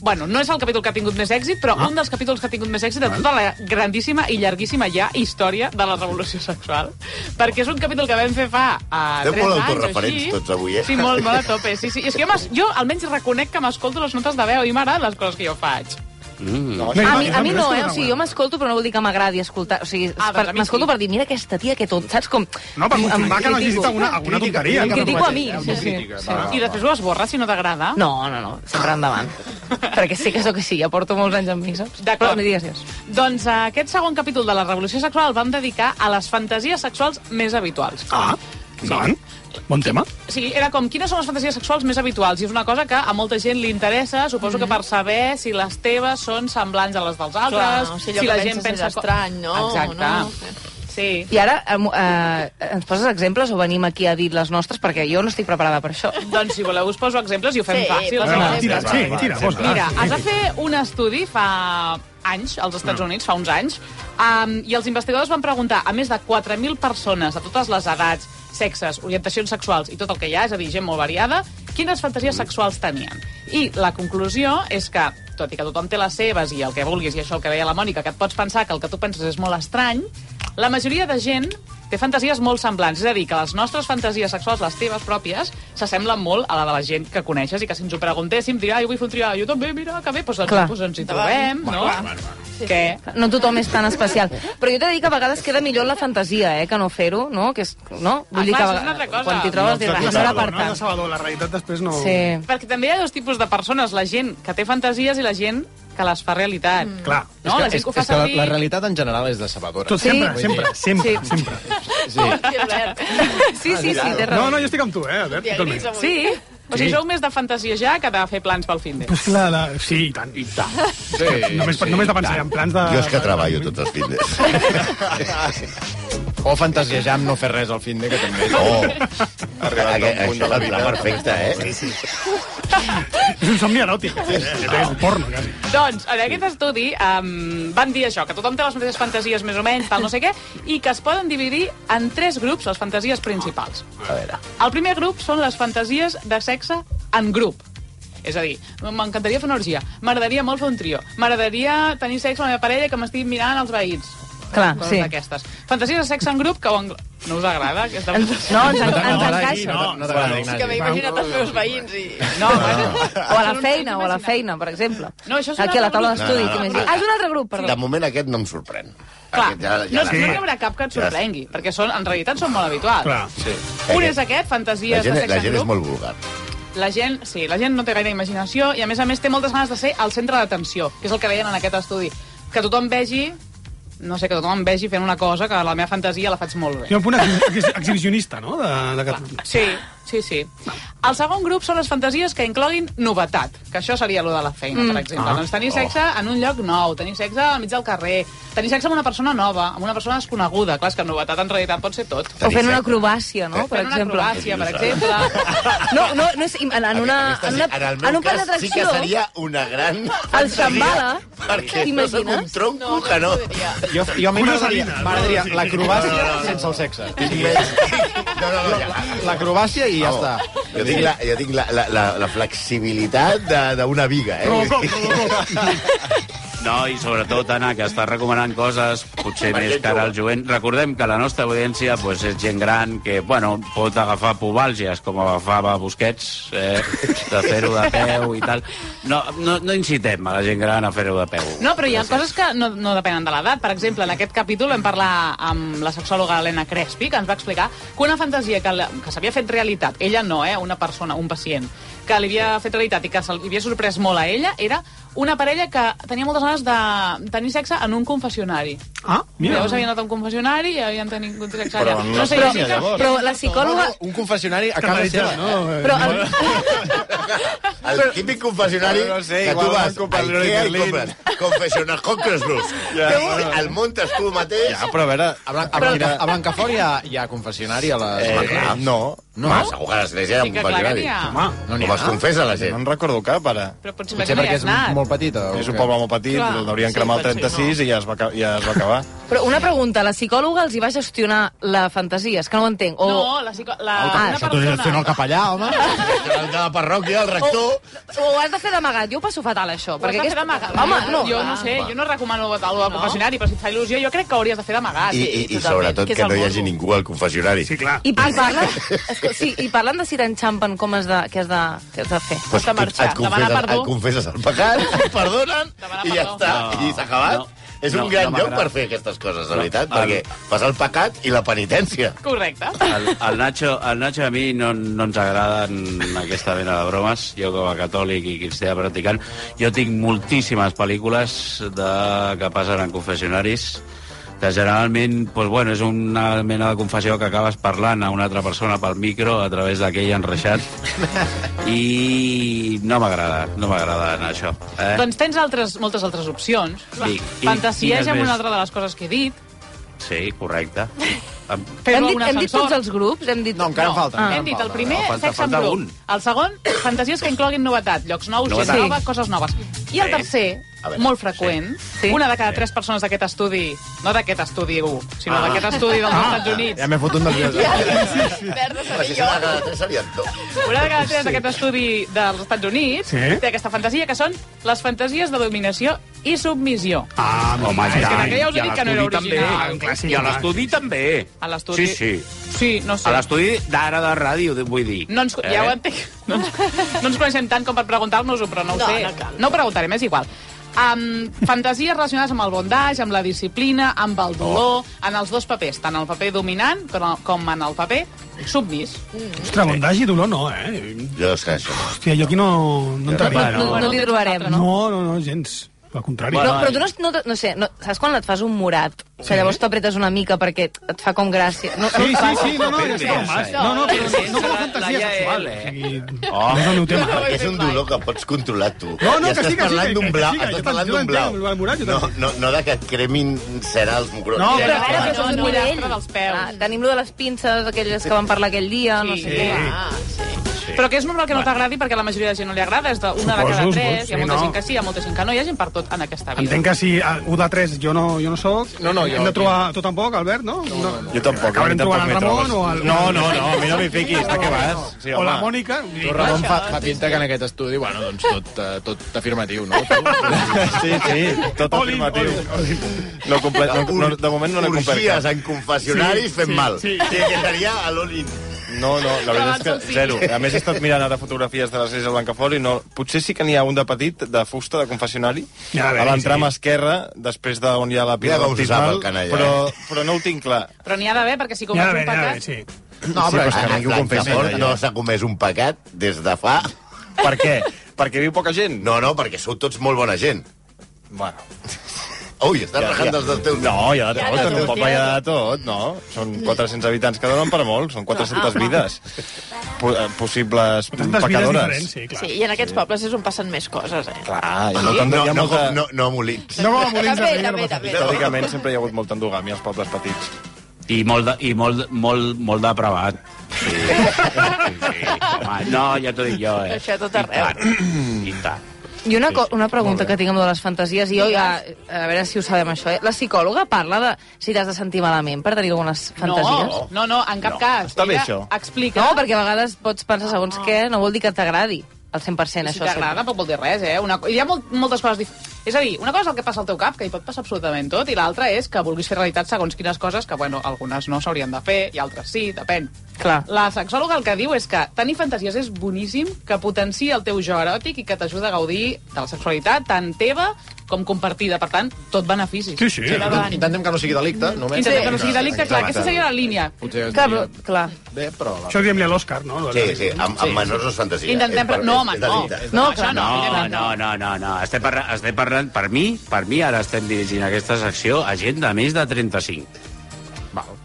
Speaker 4: Bueno, no és el capítol que ha tingut més èxit, però
Speaker 2: Ah.
Speaker 4: un dels capítols que ha tingut més èxit de tota la grandíssima i llarguíssima ja història de la revolució sexual. Perquè és un capítol que vam fer fa uh,
Speaker 2: Estem
Speaker 4: 3
Speaker 2: molt
Speaker 4: anys o
Speaker 2: autorreferents
Speaker 4: així.
Speaker 2: tots avui, eh?
Speaker 4: Sí, molt, molt a tope. Sí, sí. És que jo, m'es- jo almenys reconec que m'escolto les notes de veu i m'agraden les coses que jo faig.
Speaker 2: Mm.
Speaker 12: A mi, a mi no, eh? O sigui, jo m'escolto, però no vol dir que m'agradi escoltar. O sigui,
Speaker 4: Ah, doncs
Speaker 12: per-
Speaker 4: a mi
Speaker 12: m'escolto
Speaker 4: sí.
Speaker 12: per dir, mira aquesta tia que tot, saps com...
Speaker 4: No, per
Speaker 12: Em-
Speaker 4: confirmar
Speaker 12: em
Speaker 4: que no hagis
Speaker 12: critico.
Speaker 4: dit alguna- alguna
Speaker 12: Crítica,
Speaker 4: tonteria,
Speaker 12: Em
Speaker 4: que no
Speaker 12: critico a mi.
Speaker 4: pateixis,
Speaker 12: Sí,
Speaker 4: eh?
Speaker 12: sí.
Speaker 4: Sí.
Speaker 2: Ah,
Speaker 4: I després ho esborres si no t'agrada.
Speaker 12: No, no, no, sempre endavant. Perquè sé que sóc així, ja porto molts anys amb mi, saps? Però no digues, digues.
Speaker 4: Doncs eh, aquest segon capítol de la revolució sexual el vam dedicar a les fantasies sexuals més habituals.
Speaker 8: Ah, endavant. Bon tema.
Speaker 4: O sigui, era com, quines són les fantasies sexuals més habituals? I és una cosa que a molta gent li interessa, suposo
Speaker 3: Mhm.
Speaker 4: que per saber si les teves són semblants a les dels altres,
Speaker 3: Clar, o sigui, allò
Speaker 4: si
Speaker 3: que
Speaker 4: la
Speaker 3: penses
Speaker 4: gent
Speaker 3: és
Speaker 4: pensa... co-
Speaker 3: estrany, no?
Speaker 4: Exacte.
Speaker 3: No?
Speaker 4: Sí.
Speaker 12: I ara em- eh, ens poses exemples o venim aquí a dir les nostres? Perquè jo no estic preparada per això.
Speaker 4: Doncs si voleu us poso exemples i ho fem
Speaker 12: Sí,
Speaker 4: fàcil.
Speaker 12: posa
Speaker 4: Va,
Speaker 12: exemples.
Speaker 4: va,
Speaker 12: Sí,
Speaker 4: va,
Speaker 12: tira,
Speaker 4: va.
Speaker 12: posa.
Speaker 4: Mira, es va fer un estudi fa anys, als Estats Units, fa uns anys, um, i els investigadors van preguntar a més de 4.000 persones de totes les edats, sexes, orientacions sexuals i tot el que hi ha, és a dir, gent molt variada, quines fantasies sexuals tenien. I la conclusió és que, tot i que tothom té les seves i el que vulguis, i això el que deia la Mònica, que et pots pensar que el que tu penses és molt estrany, la majoria de gent té fantasies molt semblants. És a dir, que les nostres fantasies sexuals, les teves pròpies, s'assemblen molt a la de la gent que coneixes i que si ens ho preguntéssim, dirà, "Ai, jo vull fer un trial, jo també, mira, que bé, doncs,
Speaker 12: Clar.
Speaker 4: doncs, doncs ens hi trobem, no? Què?
Speaker 12: No tothom és tan especial. Però jo t'he de dir que a vegades queda millor la fantasia, eh, que no fer-ho, no? Que és, no?
Speaker 4: Ah,
Speaker 12: que a
Speaker 4: clar, això és
Speaker 12: vegades-
Speaker 4: una altra cosa.
Speaker 12: quan t'hi trobes,
Speaker 4: No,
Speaker 12: diràs,
Speaker 4: clar,
Speaker 12: no serà per
Speaker 4: no,
Speaker 12: tant.
Speaker 8: No, Salvador, la realitat després no...
Speaker 12: Sí.
Speaker 4: Perquè també hi ha dos tipus de persones, la gent que té fantasies i la gent que les fa realitat. Mm.
Speaker 8: Clar.
Speaker 4: No, la gent que ho fa
Speaker 6: és que la,
Speaker 4: servir...
Speaker 6: la realitat en general és decebedora.
Speaker 8: Tot sempre,
Speaker 6: Vull
Speaker 8: sempre,
Speaker 6: dir,
Speaker 8: sempre, sempre.
Speaker 12: Sí, sí, sí, té raó.
Speaker 8: No, no, jo estic amb tu, eh, Albert, totalment.
Speaker 4: Sí? O sigui, sou més de fantasiejar que de fer plans pel fin de.
Speaker 8: Pues clar, la... sí, i tant. I tant. Sí, només, sí, només de pensar en plans de...
Speaker 2: Jo és que treballo tots els fitness.
Speaker 6: O fantasiejar amb no fer res al fin de que també...
Speaker 2: Oh, aquest,
Speaker 6: Arribat a un punt
Speaker 2: això
Speaker 6: de
Speaker 2: és
Speaker 6: la
Speaker 2: el pla
Speaker 6: vida.
Speaker 2: perfecte, eh?
Speaker 8: És un somni eròtic. eh? És un porno, quasi.
Speaker 4: Doncs, en aquest estudi um, van dir això, que tothom té les mateixes fantasies més o menys, tal no sé què, i que es poden dividir en tres grups les fantasies principals.
Speaker 2: A veure.
Speaker 4: El primer grup són les fantasies de sexe en grup. És a dir, m'encantaria fer una orgia, m'agradaria molt fer un trio, m'agradaria tenir sexe amb la meva parella que m'estigui mirant els veïns.
Speaker 12: Clar,
Speaker 4: Coses
Speaker 12: sí.
Speaker 4: d'aquestes. Fantasies de sexe en grup que... ho englo- No us agrada? Aquesta...
Speaker 12: No, ens- ens encaixa.
Speaker 6: No t'agrada,
Speaker 3: Sí que m'he
Speaker 6: Ignasi.
Speaker 3: imaginat els meus veïns i...
Speaker 4: No,
Speaker 12: O a la feina, o a la feina, per exemple.
Speaker 4: No, això és un
Speaker 12: Aquí a la
Speaker 4: altre
Speaker 12: taula
Speaker 4: grup.
Speaker 12: d'estudi,
Speaker 2: No, no, no.
Speaker 12: t'imagines. Ah, és un altre grup,
Speaker 2: De
Speaker 12: perdó.
Speaker 2: moment aquest no em sorprèn.
Speaker 4: Clar,
Speaker 2: Aquest ja- ja
Speaker 4: no,
Speaker 2: l'ha-
Speaker 4: no hi haurà cap que et
Speaker 2: Ja està.
Speaker 4: sorprengui, perquè són, en realitat són molt habituals.
Speaker 2: Clar. Sí.
Speaker 4: Un és aquest,
Speaker 2: Eh, La
Speaker 4: fantasies
Speaker 2: gent,
Speaker 4: de sexe
Speaker 2: la
Speaker 4: en
Speaker 2: gent és
Speaker 4: grup.
Speaker 2: molt vulgar.
Speaker 4: La gent, sí, la gent no té gaire imaginació i, a més a més, té moltes ganes de ser al centre d'atenció, que és el que veien en aquest estudi. Que tothom vegi no sé, que tothom em vegi fent una cosa que la meva fantasia la faig molt bé.
Speaker 8: Hi ha un punt exhi- exhi- exhibicionista, no? De, de... Catalunya.
Speaker 4: Sí, sí, sí. El segon grup són les fantasies que incloguin novetat, que això seria lo de la feina,
Speaker 8: Mm.
Speaker 4: per exemple.
Speaker 8: Ah.
Speaker 4: Doncs tenir sexe en un lloc nou, tenir sexe al mig del carrer, tenir sexe amb una persona nova, amb una persona desconeguda. Clar, és que novetat en realitat pot ser tot.
Speaker 12: O fent una acrobàcia, no? Oh, Per
Speaker 4: Fent una
Speaker 12: exemple.
Speaker 4: acrobàcia, per exemple.
Speaker 12: No, no, no és... En, en una... En, una,
Speaker 2: en el
Speaker 12: en
Speaker 2: meu
Speaker 12: un parc
Speaker 2: cas sí que
Speaker 12: d'atracció...
Speaker 2: seria una gran...
Speaker 12: El
Speaker 2: fantasia,
Speaker 12: Shambhala,
Speaker 2: Perquè no
Speaker 12: t'imagines?
Speaker 2: soc un tronco no, que no.
Speaker 6: Jo, jo a mi m'agradaria m'agradaria l'acrobàcia sense el sexe. L'acrobàcia i ja està.
Speaker 2: Jo tinc la, jo tinc la, la, la, la flexibilitat de- d'una viga, eh?
Speaker 5: No, i sobretot, Anna, que estàs recomanant coses potser
Speaker 2: Per
Speaker 5: més
Speaker 2: gent
Speaker 5: cara
Speaker 2: jove.
Speaker 5: al jovent. Recordem que la nostra audiència pues, és gent gran que, bueno, pot agafar povàlgies, com agafava Busquets, eh, de fer-ho de peu i tal. No, no, no incitem a la gent gran a fer-ho de peu.
Speaker 4: No, però hi ha coses que no, no depenen de l'edat. Per exemple, en aquest capítol vam parlar amb la sexòloga Helena Crespi, que ens va explicar que una fantasia que, la- que s'havia fet realitat, ella no, eh, una persona, un pacient, que li havia fet realitat i que se li havia sorprès molt a ella, era una parella que tenia moltes ganes de tenir sexe en un confessionari.
Speaker 8: Ah,
Speaker 4: Mira. Llavors havien anat a un confessionari i havien tenit sexe allà.
Speaker 6: Però en la
Speaker 4: jo
Speaker 6: feina,
Speaker 4: sí que-
Speaker 6: llavors.
Speaker 12: Però la psicòloga...
Speaker 6: Un confessionari a casa
Speaker 2: Canalitzar,
Speaker 6: seva.
Speaker 2: no?
Speaker 12: Però el,
Speaker 2: El típic confessionari
Speaker 6: No, no sé,
Speaker 2: que tu
Speaker 6: igual van
Speaker 2: vas a
Speaker 6: comprar l'Ori
Speaker 2: Ikea i
Speaker 6: Berlín.
Speaker 2: compres confessionar Conquerors Blues.
Speaker 6: Ja,
Speaker 2: Ja,
Speaker 6: bueno.
Speaker 2: el muntes tu mateix.
Speaker 6: Ja, però a veure, a, Blanc, a,
Speaker 2: Però-
Speaker 6: Blanca, a Blancafort hi ha, hi ha confessionari a les...
Speaker 2: Eh,
Speaker 6: Merlets?
Speaker 2: no.
Speaker 6: No?
Speaker 2: Home, segur que a l'església hi ha Sí que un clar que confessionari. n'hi ha. Ah, Home, com es confessa la gent?
Speaker 6: No en recordo cap, ara.
Speaker 4: Però potser,
Speaker 6: Potser perquè és molt petita.
Speaker 1: És un poble molt petit,
Speaker 12: Clar.
Speaker 1: l'haurien
Speaker 12: Sí,
Speaker 1: cremat el
Speaker 12: potser
Speaker 1: 36 i ja es va, ca- ja es va acabar.
Speaker 12: Però una pregunta, la psicòloga els hi va gestionar la fantasia? És que no ho entenc. O...
Speaker 4: No, la, psico- la,
Speaker 6: Ah,
Speaker 4: una
Speaker 6: Això t'ho gestiona
Speaker 4: persona...
Speaker 6: el capellà, home.
Speaker 2: El de la parròquia, el rector...
Speaker 12: O, ho has de fer d'amagat. Jo ho passo fatal, això.
Speaker 4: Ho has de fer d'amagat.
Speaker 12: Home, no.
Speaker 4: Jo no sé, jo no recomano el del confessionari, però si et fa il·lusió, jo crec que hauries de fer d'amagat.
Speaker 2: I, i, i sobretot que no hi hagi ningú al confessionari. Sí,
Speaker 8: clar.
Speaker 12: I, i, parlen, esco- sí, I parlen de si t'enxampen com has de, què has de, què has de fer.
Speaker 2: Pues tu et, confesses, et confesses el pecat, et perdonen i ja està,
Speaker 5: No,
Speaker 2: i s'ha acabat.
Speaker 5: no,
Speaker 2: és un
Speaker 5: no,
Speaker 2: gran
Speaker 5: no
Speaker 2: lloc
Speaker 5: m'agrada.
Speaker 2: per fer aquestes coses, de
Speaker 5: No,
Speaker 2: veritat,
Speaker 5: el-
Speaker 2: perquè fas el pecat i la penitència.
Speaker 4: Correcte.
Speaker 5: El, el, Nacho, el Nacho a mi no, no ens agraden aquesta mena de bromes. Jo, com a catòlic i cristià practicant, jo tinc moltíssimes pel·lícules de, que passen en confessionaris que generalment doncs, bueno, és una mena de confessió que acabes parlant a una altra persona pel micro a través d'aquell enreixat i no m'agrada, no m'agrada anar a això. Eh?
Speaker 4: Doncs tens altres, moltes altres opcions.
Speaker 5: I- i
Speaker 4: Fantasies
Speaker 5: quines
Speaker 4: amb
Speaker 5: més?
Speaker 4: una altra de les coses que he dit.
Speaker 5: Sí, correcte. Em-
Speaker 12: Hem
Speaker 4: Fer-ho
Speaker 12: dit,
Speaker 4: a un
Speaker 12: hem dit
Speaker 4: ascensor.
Speaker 12: tots els grups? Hem dit... No,
Speaker 6: encara en falta, encara
Speaker 4: hem
Speaker 6: en
Speaker 4: dit el
Speaker 6: falta.
Speaker 4: primer,
Speaker 6: No, falta-
Speaker 4: sexe en
Speaker 6: falta
Speaker 4: grup.
Speaker 6: un.
Speaker 4: El segon, fantasies que incloguin novetat, llocs nous,
Speaker 6: Novetat.
Speaker 4: gent
Speaker 6: Sí.
Speaker 4: nova, coses noves. I el
Speaker 6: Sí.
Speaker 4: tercer,
Speaker 6: A veure,
Speaker 4: molt freqüent, una de cada tres persones d'aquest estudi, no d'aquest estudi 1, sinó
Speaker 6: Ah.
Speaker 4: d'aquest estudi dels
Speaker 6: Ah.
Speaker 4: Estats Units,
Speaker 6: Ja m'he fotut nerviós.
Speaker 2: Home, si s'ha de cada tres serien dos.
Speaker 4: una de cada tres d'aquest estudi dels Estats Units,
Speaker 2: Sí.
Speaker 4: té aquesta fantasia que són les fantasies de dominació i submissió.
Speaker 5: Ah, home,
Speaker 4: és que aquella us he
Speaker 5: i a
Speaker 4: dit que no era
Speaker 5: l'estudi
Speaker 4: original.
Speaker 5: també.
Speaker 4: Un clàssic, doncs.
Speaker 5: I a
Speaker 4: un clàssic.
Speaker 5: l'estudi també.
Speaker 4: A l'estudi-
Speaker 5: Sí, sí.
Speaker 4: Sí, no sé.
Speaker 5: A Eh? l'estudi d'ara de ràdio, de- vull dir.
Speaker 4: No ens, ja ho entenc. No ens, no ens coneixem tant com per preguntar-nos-ho, però no ho
Speaker 5: No,
Speaker 4: sé.
Speaker 5: no cal.
Speaker 4: no ho preguntarem, és igual. Um, fantasies relacionades amb el bondage, amb la disciplina, amb el
Speaker 8: Oh.
Speaker 4: dolor, en els dos papers, tant el paper dominant com, com en el paper submís.
Speaker 8: Ostres, bondage i dolor no, eh?
Speaker 2: Jo és que això...
Speaker 8: Hòstia, jo aquí no, no entraria.
Speaker 12: No, no, no li trobarem, no?
Speaker 8: No, no, no, gens. Al contrari.
Speaker 12: No, però tu no, no, no sé, no, saps quan et fas un morat? Que llavors t'apretes una mica perquè et fa com gràcia. No,
Speaker 8: Sí,
Speaker 12: no
Speaker 8: sí,
Speaker 12: et fa-
Speaker 8: sí, no, no, ja està el mas. No, no, però no, no com a fantasia sexual. eh?
Speaker 2: Oh,
Speaker 8: és el meu tema.
Speaker 2: perquè és un dolor que pots controlar tu.
Speaker 8: No, no,
Speaker 2: I
Speaker 8: que
Speaker 2: estàs
Speaker 8: sí, que sí,
Speaker 2: parlant
Speaker 8: que-
Speaker 2: d'un
Speaker 8: que
Speaker 2: blau,
Speaker 8: sí, que
Speaker 2: estàs
Speaker 8: jo
Speaker 2: parlant
Speaker 8: també-
Speaker 2: d'un
Speaker 8: jo
Speaker 2: blau.
Speaker 8: l'entenc, el morat, jo
Speaker 2: No,
Speaker 8: també.
Speaker 2: no, no de que et cremin cera els mucrons.
Speaker 8: No,
Speaker 12: Però
Speaker 2: Ja,
Speaker 12: a veure,
Speaker 2: ja,
Speaker 12: això és un
Speaker 4: no,
Speaker 12: nivell.
Speaker 4: l'altre dels peus.
Speaker 12: Ah, tenim lo de les pinces, aquelles que van parlar aquell dia, no sé què.
Speaker 4: Sí. Però que és normal que no t'agradi perquè a la majoria de gent no li agrada, és d'una de cada
Speaker 8: Suposo,
Speaker 4: tres, hi ha
Speaker 8: sí,
Speaker 4: molta
Speaker 8: no.
Speaker 4: gent que sí, hi ha molta gent que no, hi ha gent per tot en aquesta vida.
Speaker 8: Entenc que si a 1 de 3 jo no, jo no soc,
Speaker 4: No, no, jo-
Speaker 8: hem de trobar... Tu tampoc, Albert, no? no, no,
Speaker 1: Jo tampoc. eh,
Speaker 8: Acabarem
Speaker 1: tampoc
Speaker 8: trobant el
Speaker 1: m'hi
Speaker 8: Ramon
Speaker 1: trobes.
Speaker 8: o el...
Speaker 1: No, no, no, a mi no m'hi fiquis, de què vas? Sí,
Speaker 8: o la
Speaker 1: home.
Speaker 8: Mònica...
Speaker 6: Tu, Ramon, fa, fa pinta que en aquest estudi, bueno, doncs tot, eh, tot afirmatiu, no?
Speaker 1: Sí, sí, tot afirmatiu. No, comple... no, no, de moment no n'he complert
Speaker 2: Orgies
Speaker 1: cap.
Speaker 2: en confessionaris
Speaker 1: Sí,
Speaker 2: fent
Speaker 1: sí,
Speaker 2: mal.
Speaker 1: sí.
Speaker 2: Sí, que seria a l'Olin.
Speaker 1: No, no, la
Speaker 2: Abans
Speaker 1: veritat és
Speaker 2: el
Speaker 1: que zero. A més, he estat mirant ara fotografies de l'església de Blancafort i no... Potser sí que n'hi ha un de petit, de fusta, de confessionari,
Speaker 2: Ja,
Speaker 1: a
Speaker 2: bé,
Speaker 1: l'entrama
Speaker 2: sí.
Speaker 1: esquerra, després d'on hi ha la pila
Speaker 2: Ja com se sap
Speaker 1: baptismal,
Speaker 2: el canalla,
Speaker 1: però,
Speaker 2: eh?
Speaker 1: però no ho tinc clar.
Speaker 4: Però n'hi ha d'haver, perquè si comets un pecat...
Speaker 8: sí.
Speaker 2: No, però és que
Speaker 1: ningú
Speaker 2: ningú
Speaker 1: confessa, ja.
Speaker 2: No s'ha comès un pecat des de fa... Per què? Perquè viu poca gent? No, no, perquè sou tots molt bona gent.
Speaker 1: Bueno.
Speaker 2: Ui, estàs rajant els dels teus...
Speaker 1: No, hi ha de
Speaker 2: Hi ha
Speaker 1: tot,
Speaker 2: de
Speaker 1: en un
Speaker 2: tot,
Speaker 1: poble
Speaker 2: hi
Speaker 1: hi
Speaker 2: ha
Speaker 1: ha de tot, no? Són 400 habitants que donen per molt, són
Speaker 4: Ah,
Speaker 1: 400 vides. Po- eh, Possibles
Speaker 3: vides
Speaker 1: pecadores.
Speaker 3: Sí, sí, i en aquests pobles és on passen més coses, eh?
Speaker 1: Clar,
Speaker 2: No,
Speaker 1: no,
Speaker 2: no,
Speaker 1: Ah, hi ha
Speaker 2: no,
Speaker 1: molta...
Speaker 2: com- no, no molins.
Speaker 1: No,
Speaker 3: com a Molins de També, Rei, no també, passa res. també.
Speaker 1: Històricament sempre hi ha hagut molta endogàmia als pobles petits.
Speaker 5: I molt, de, i molt, molt, molt depravat. Sí. sí, sí. Home, no, ja t'ho dic jo, eh?
Speaker 12: Això tot
Speaker 5: arreu. I tant.
Speaker 12: I una, co- una pregunta que tinc amb les fantasies, i jo ja, a veure si ho sabem això, eh? La psicòloga parla de si t'has de sentir malament per tenir algunes fantasies?
Speaker 4: No, no, no, en cap no. cas.
Speaker 12: Està bé,
Speaker 4: Ella
Speaker 12: això.
Speaker 4: Explica.
Speaker 12: No, perquè a vegades pots pensar segons què, no vol dir que t'agradi al 100%
Speaker 4: si
Speaker 12: això.
Speaker 4: t'agrada, tampoc vol dir res, eh? Una, co- hi ha molt, moltes coses... Dif... És a dir, una cosa és el que passa al teu cap, que hi pot passar absolutament tot, i l'altra és que vulguis fer realitat segons quines coses, que, bueno, algunes no s'haurien de fer, i altres sí, depèn.
Speaker 12: Clar.
Speaker 4: La sexòloga el que diu és que tenir fantasies és boníssim, que potencia el teu jo eròtic i que t'ajuda a gaudir de la sexualitat tant teva com compartida. Per tant, tot beneficis.
Speaker 6: Intentem, intentem que no sigui delicte, només.
Speaker 4: Intentem que no sigui delicte, clar, aquesta seria la línia.
Speaker 6: Potser
Speaker 4: Que-
Speaker 6: diria-
Speaker 12: clar.
Speaker 6: Bé, però...
Speaker 8: Això ho diem-li a l'Òscar, no?
Speaker 2: Sí, sí, amb, amb menors no és fantasia.
Speaker 4: Intentem,
Speaker 2: És
Speaker 4: però-
Speaker 2: per-
Speaker 4: no,
Speaker 2: és
Speaker 4: home,
Speaker 2: delicte.
Speaker 4: no. No, clar, Ah, no,
Speaker 5: no, no, no, no, no. Estem, parlant, estem parlant, per mi, per mi ara estem dirigint aquesta secció a gent de més de 35. Val.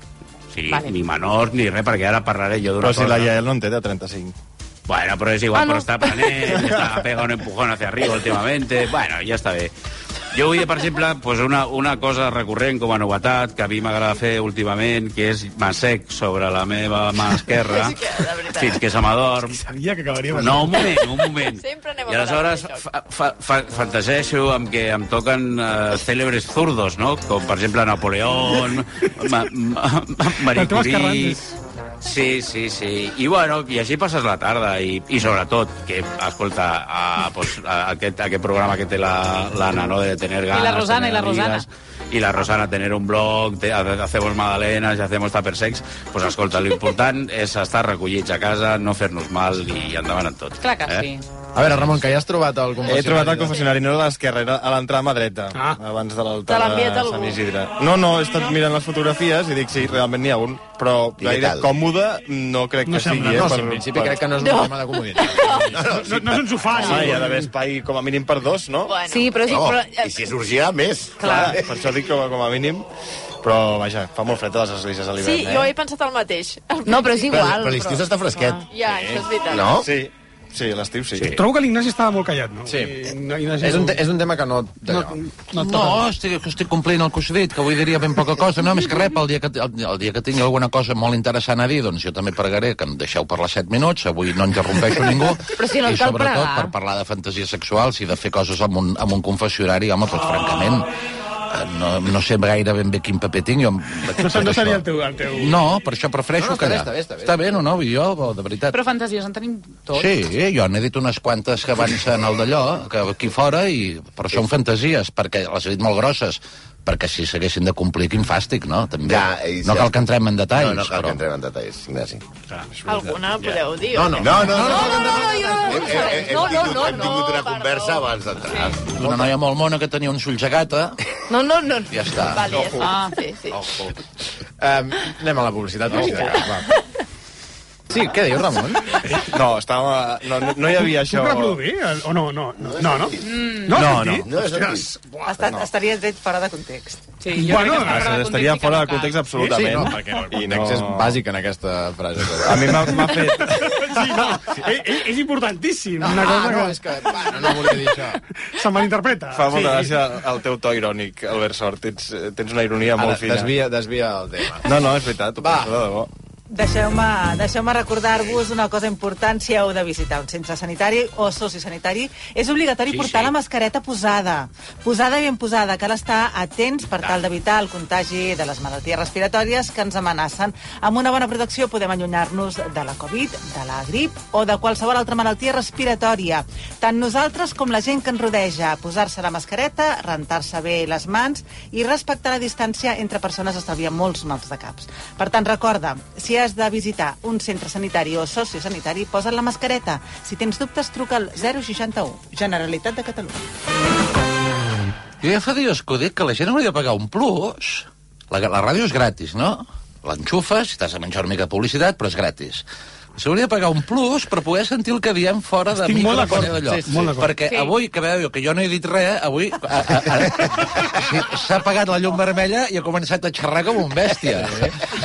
Speaker 5: Sí, vale. ni menors ni res, perquè ara parlaré jo d'una
Speaker 1: Però
Speaker 5: cosa.
Speaker 1: si la Yael no en té de 35.
Speaker 5: Bueno, però és igual, ah,
Speaker 1: Ah, no.
Speaker 5: no. però està planet, està pega un empujón hacia arriba últimamente, bueno, ja està bé. Jo vull dir, per exemple, pues una, una cosa recurrent com a novetat que a mi m'agrada fer últimament, que és m'assec sobre la meva mà esquerra fins que se m'adorm.
Speaker 8: Sabia que acabaria...
Speaker 5: No, un moment, un moment.
Speaker 3: Sempre anem
Speaker 5: I aleshores fa, fa, fa, fantaseixo amb que em toquen eh, cèlebres zurdos, no? Com, per exemple, Napoleón, ma, ma, ma, Marie
Speaker 15: Artur
Speaker 5: Curie...
Speaker 15: Escarrantes.
Speaker 5: Sí, sí, sí. I bueno, i així passes la tarda i, i sobretot que, escolta, a, pues, a aquest, aquest programa que té la- l'Anna, no?, de tener ganas...
Speaker 4: Rosana,
Speaker 5: tener
Speaker 4: i la Rosana.
Speaker 5: amigas, y la Rosana tener un blog, te, ha- hacemos magdalenas y hacemos tapersex, pues escolta, lo important és estar recollits a casa, no fer-nos mal i endavant amb tot.
Speaker 4: Clar que
Speaker 5: Eh?
Speaker 4: sí.
Speaker 6: A veure, Ramon, que ja has trobat el confessionari.
Speaker 1: He trobat el confessionari, no era a l'esquerra, era a l'entrada mà dreta, ah. abans de
Speaker 6: Te
Speaker 1: l'altar
Speaker 6: l'ha enviat
Speaker 1: de
Speaker 6: algú?
Speaker 1: Sant Isidre. No, no, he estat mirant les fotografies i dic, sí, realment n'hi ha un, però
Speaker 6: què
Speaker 1: gaire
Speaker 6: tal?
Speaker 1: còmode no crec
Speaker 6: No
Speaker 1: que sigui.
Speaker 6: sembla,
Speaker 1: eh,
Speaker 6: no, sí, en principi crec que no és un tema de comoditat.
Speaker 1: No, no és un sofà. Sí, Ah, hi ha d'haver espai com a mínim per dos, no?
Speaker 12: Bueno. Sí, però sí, No, però- i
Speaker 2: si és urgirà, més.
Speaker 1: Clar. Per això dic com a, com a mínim. Però, vaja, fa molt fred a les esglésies a l'hivern,
Speaker 3: Sí,
Speaker 1: eh?
Speaker 3: jo he pensat el mateix.
Speaker 12: No, però és
Speaker 1: igual, però l'estiu però- s'està fresquet.
Speaker 3: Ja, això és veritat.
Speaker 1: Sí, sí l'estiu sí. sí.
Speaker 8: Trobo que l'Ignasi estava molt callat, no?
Speaker 6: Sí.
Speaker 8: Ignasi,
Speaker 6: És un, te- és un tema que no... No,
Speaker 8: no,
Speaker 7: no estic, estic complint el que us he dit, que avui diria ben poca cosa. No, més que res, el dia que, el, el dia que tingui alguna cosa molt interessant a dir, doncs jo també pregaré que em deixeu parlar 7 minuts, avui no interrompeixo ningú.
Speaker 12: Però si no
Speaker 7: I
Speaker 12: et cal
Speaker 7: sobretot
Speaker 12: pregar.
Speaker 7: per parlar de fantasies sexuals i de fer coses amb un, amb un confessionari, home, doncs francament, eh, no, no sé gaire ben bé quin paper tinc. Jo,
Speaker 8: No, no seria el teu... El teu...
Speaker 7: No, per això prefereixo
Speaker 8: No, no, està bé,
Speaker 7: callar.
Speaker 8: està bé, està bé.
Speaker 7: Està bé, no, no, jo, de veritat.
Speaker 4: Però fantasies en tenim tot.
Speaker 7: Sí, jo n'he dit unes quantes que avancen al d'allò, que aquí fora, i, però són fantasies, perquè les he dit molt grosses, perquè si s'haguessin de complir, quin fàstic, no? També.
Speaker 2: Ja, i
Speaker 7: no
Speaker 2: ja.
Speaker 7: cal que entrem en detalls.
Speaker 2: No, no cal
Speaker 7: però...
Speaker 2: que entrem en detalls, Ignasi.
Speaker 3: Alguna podeu dir?
Speaker 2: No, no, no, no, no, no,
Speaker 3: no, no,
Speaker 2: Hem, hem,
Speaker 3: no, no,
Speaker 2: tingut, hem tingut una conversa abans d'entrar.
Speaker 7: Una noia molt mona que tenia uns ulls a gata,
Speaker 12: No, no, no.
Speaker 7: ja està.
Speaker 3: Vale, ja està.
Speaker 2: Ah.
Speaker 3: Sí, sí.
Speaker 2: Oh,
Speaker 6: Um, anem a la publicitat.
Speaker 1: No,
Speaker 6: No, va. Sí, què dius, Ramon?
Speaker 1: No, estava... No, no, no hi havia això...
Speaker 8: Puc reproduir? El- O no, no, no, no, no?
Speaker 1: Mm.
Speaker 8: No,
Speaker 1: No,
Speaker 8: no,
Speaker 1: no. No,
Speaker 8: no.
Speaker 1: és el
Speaker 8: Ostres,
Speaker 14: Està, no. Estaria tret fora de context.
Speaker 4: Sí,
Speaker 1: estaria fora de context absolutament.
Speaker 6: Sí, no, perquè el context és bàsic en aquesta frase.
Speaker 1: Oh. A mi m'ha m'ha fet...
Speaker 8: sí, no. És, és- és importantíssim.
Speaker 6: No,
Speaker 8: una
Speaker 6: ah,
Speaker 8: cosa
Speaker 6: no,
Speaker 8: que...
Speaker 6: és que... Bueno, no volia dir això.
Speaker 8: Se malinterpreta.
Speaker 1: Fa molta gràcia el teu to irònic, Albert Sort. Tens, tens una ironia
Speaker 6: Ara,
Speaker 1: molt fina.
Speaker 6: desvia- desvia el tema.
Speaker 1: No, no, és veritat, ho penso de debò.
Speaker 14: Deixeu-me deixeu recordar-vos una cosa important si heu de visitar un centre sanitari o sociosanitari. És obligatori
Speaker 16: Sí,
Speaker 14: sí, portar
Speaker 16: sí.
Speaker 14: sí. la mascareta posada. Posada i ben posada. Cal estar atents per
Speaker 16: Ah.
Speaker 14: tal d'evitar el contagi de les malalties respiratòries que ens amenacen. Amb una bona protecció podem allunyar-nos de la Covid, de la grip o de qualsevol altra malaltia respiratòria. Tant nosaltres com la gent que ens rodeja. Posar-se la mascareta, rentar-se bé les mans i respectar la distància entre persones estalvia molts mals de caps. Per tant, recorda, si has de visitar un centre sanitari o sociosanitari, posa't la mascareta. Si tens dubtes, truca al 061, Generalitat de Catalunya.
Speaker 7: Jo ja fa dies que ho dic, que la gent hauria de pagar un plus. La, la ràdio és gratis, no? L'enxufes, t'has de menjar una mica de publicitat, però és gratis. S'hauria de pagar un plus per poder sentir el que diem fora de
Speaker 9: Estic
Speaker 7: micro
Speaker 9: molt d'acord,
Speaker 7: quan hi ha d'allò.
Speaker 9: sí, sí. Molt d'acord.
Speaker 7: Perquè
Speaker 9: Sí.
Speaker 7: avui, que veieu que jo no he dit res, avui a- a- a- sí, s'ha apagat la llum vermella i ha començat a xerrar com un bèstia.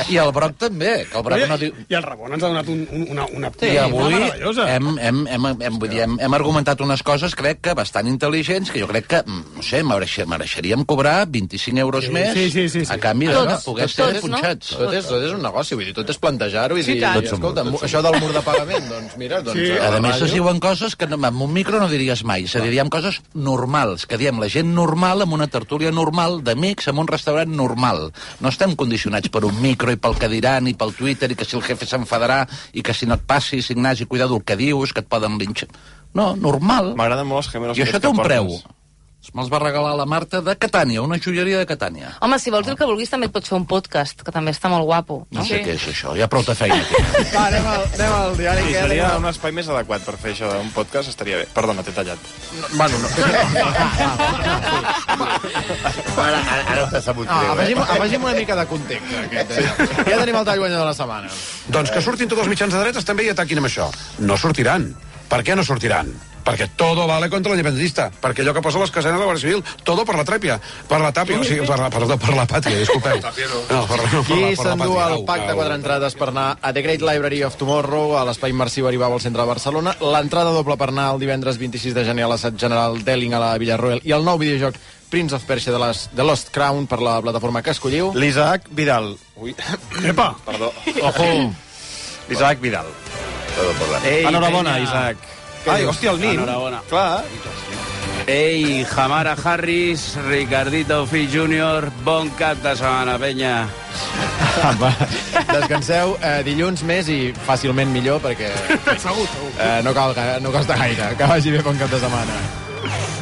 Speaker 7: I el Broc també, que el Broc
Speaker 8: Oye,
Speaker 7: no diu...
Speaker 8: I el Ramon ens ha donat un, un, una, una,
Speaker 7: I
Speaker 8: una
Speaker 7: avui
Speaker 8: meravellosa.
Speaker 7: hem, hem, hem, hem, vull dir, hem, hem argumentat unes coses, crec que bastant intel·ligents, que jo crec que, mm, no sé, mereixer- mereixeríem cobrar 25 euros
Speaker 6: Sí,
Speaker 7: més
Speaker 6: sí, sí, sí, sí.
Speaker 7: a canvi de
Speaker 6: Tots,
Speaker 7: poder
Speaker 6: tots,
Speaker 7: ser
Speaker 6: tots, no?
Speaker 7: punxats.
Speaker 6: Tot és- tot és un negoci, vull dir, tot és plantejar-ho i Sí, dir, tant. Tots som escolta, molt, tots això som del molt. mur de pagament, doncs mira, doncs, Sí. a la
Speaker 7: A més,
Speaker 6: ràdio-
Speaker 7: es diuen coses que no- amb un micro no diries mai, se diríem coses normals, que diem la gent normal amb una tertúlia normal, d'amics, amb un restaurant normal. No estem condicionats per un micro i pel que diran i pel Twitter i que si el jefe s'enfadarà i que si no et passis, Ignasi, cuidado el que dius, que et poden linxar. No, normal.
Speaker 1: M'agraden molt els gemelos.
Speaker 7: I això
Speaker 1: aquests
Speaker 7: té
Speaker 1: que
Speaker 7: un
Speaker 1: portes.
Speaker 7: preu. Me'ls va regalar la Marta de Catània, una joieria de Catània.
Speaker 12: Home, si vols dir el que vulguis, també et pots fer un podcast, que també està molt guapo.
Speaker 7: No sé què és això, hi ha prou de feina. Aquí.
Speaker 6: Va, anem al, anem al diari.
Speaker 1: Sí,
Speaker 6: que
Speaker 1: seria
Speaker 6: anem
Speaker 1: un espai més adequat per fer això d'un podcast, estaria bé. Perdona, t'he tallat.
Speaker 6: a- Bueno, no.
Speaker 2: Ara, ara, ara us ha sabut
Speaker 6: no
Speaker 2: greu,
Speaker 6: afegim,
Speaker 2: eh?
Speaker 6: afegim una mica de context. Aquest, eh? Ja tenim el tall guanyador de la setmana.
Speaker 10: Doncs que surtin tots els mitjans de dretes també i ataquin amb això. No sortiran. Per què no sortiran? Perquè todo vale contra l'independentista. Perquè allò que posa les casenes de la Guàrdia Civil, todo per la trèpia, per la tàpia, o sigui, per la, perdó, per la pàtria, disculpeu. No, per, no, per la,
Speaker 6: Qui
Speaker 10: per la
Speaker 6: s'endú
Speaker 10: pàtria.
Speaker 6: el pack de quatre entrades per anar a The Great Library of Tomorrow, a l'espai immersiu Aribau al centre de Barcelona, l'entrada doble per anar el divendres 26 de gener a l'assaig general d'Elling a la Villarroel i el nou videojoc Prince of Persia de, les, de Lost Crown per la plataforma que escolliu.
Speaker 1: L'Isaac Vidal. Ui.
Speaker 8: Epa!
Speaker 1: Perdó. Ojo. L'Isaac Vidal.
Speaker 4: Ah,
Speaker 1: Ei, Enhorabona,
Speaker 5: penya.
Speaker 1: eh, Isaac. Ai, hòstia, el
Speaker 7: Ah,
Speaker 1: Nin.
Speaker 5: Enhorabona.
Speaker 1: Clar.
Speaker 5: Ei, Jamara Harris, Ricardito Fill Jr., bon cap de setmana, penya.
Speaker 6: Descanseu eh, dilluns més i fàcilment millor perquè
Speaker 8: Segur, segur.
Speaker 6: eh, no, cal, ga- no costa gaire. Que vagi bé, bon cap de setmana.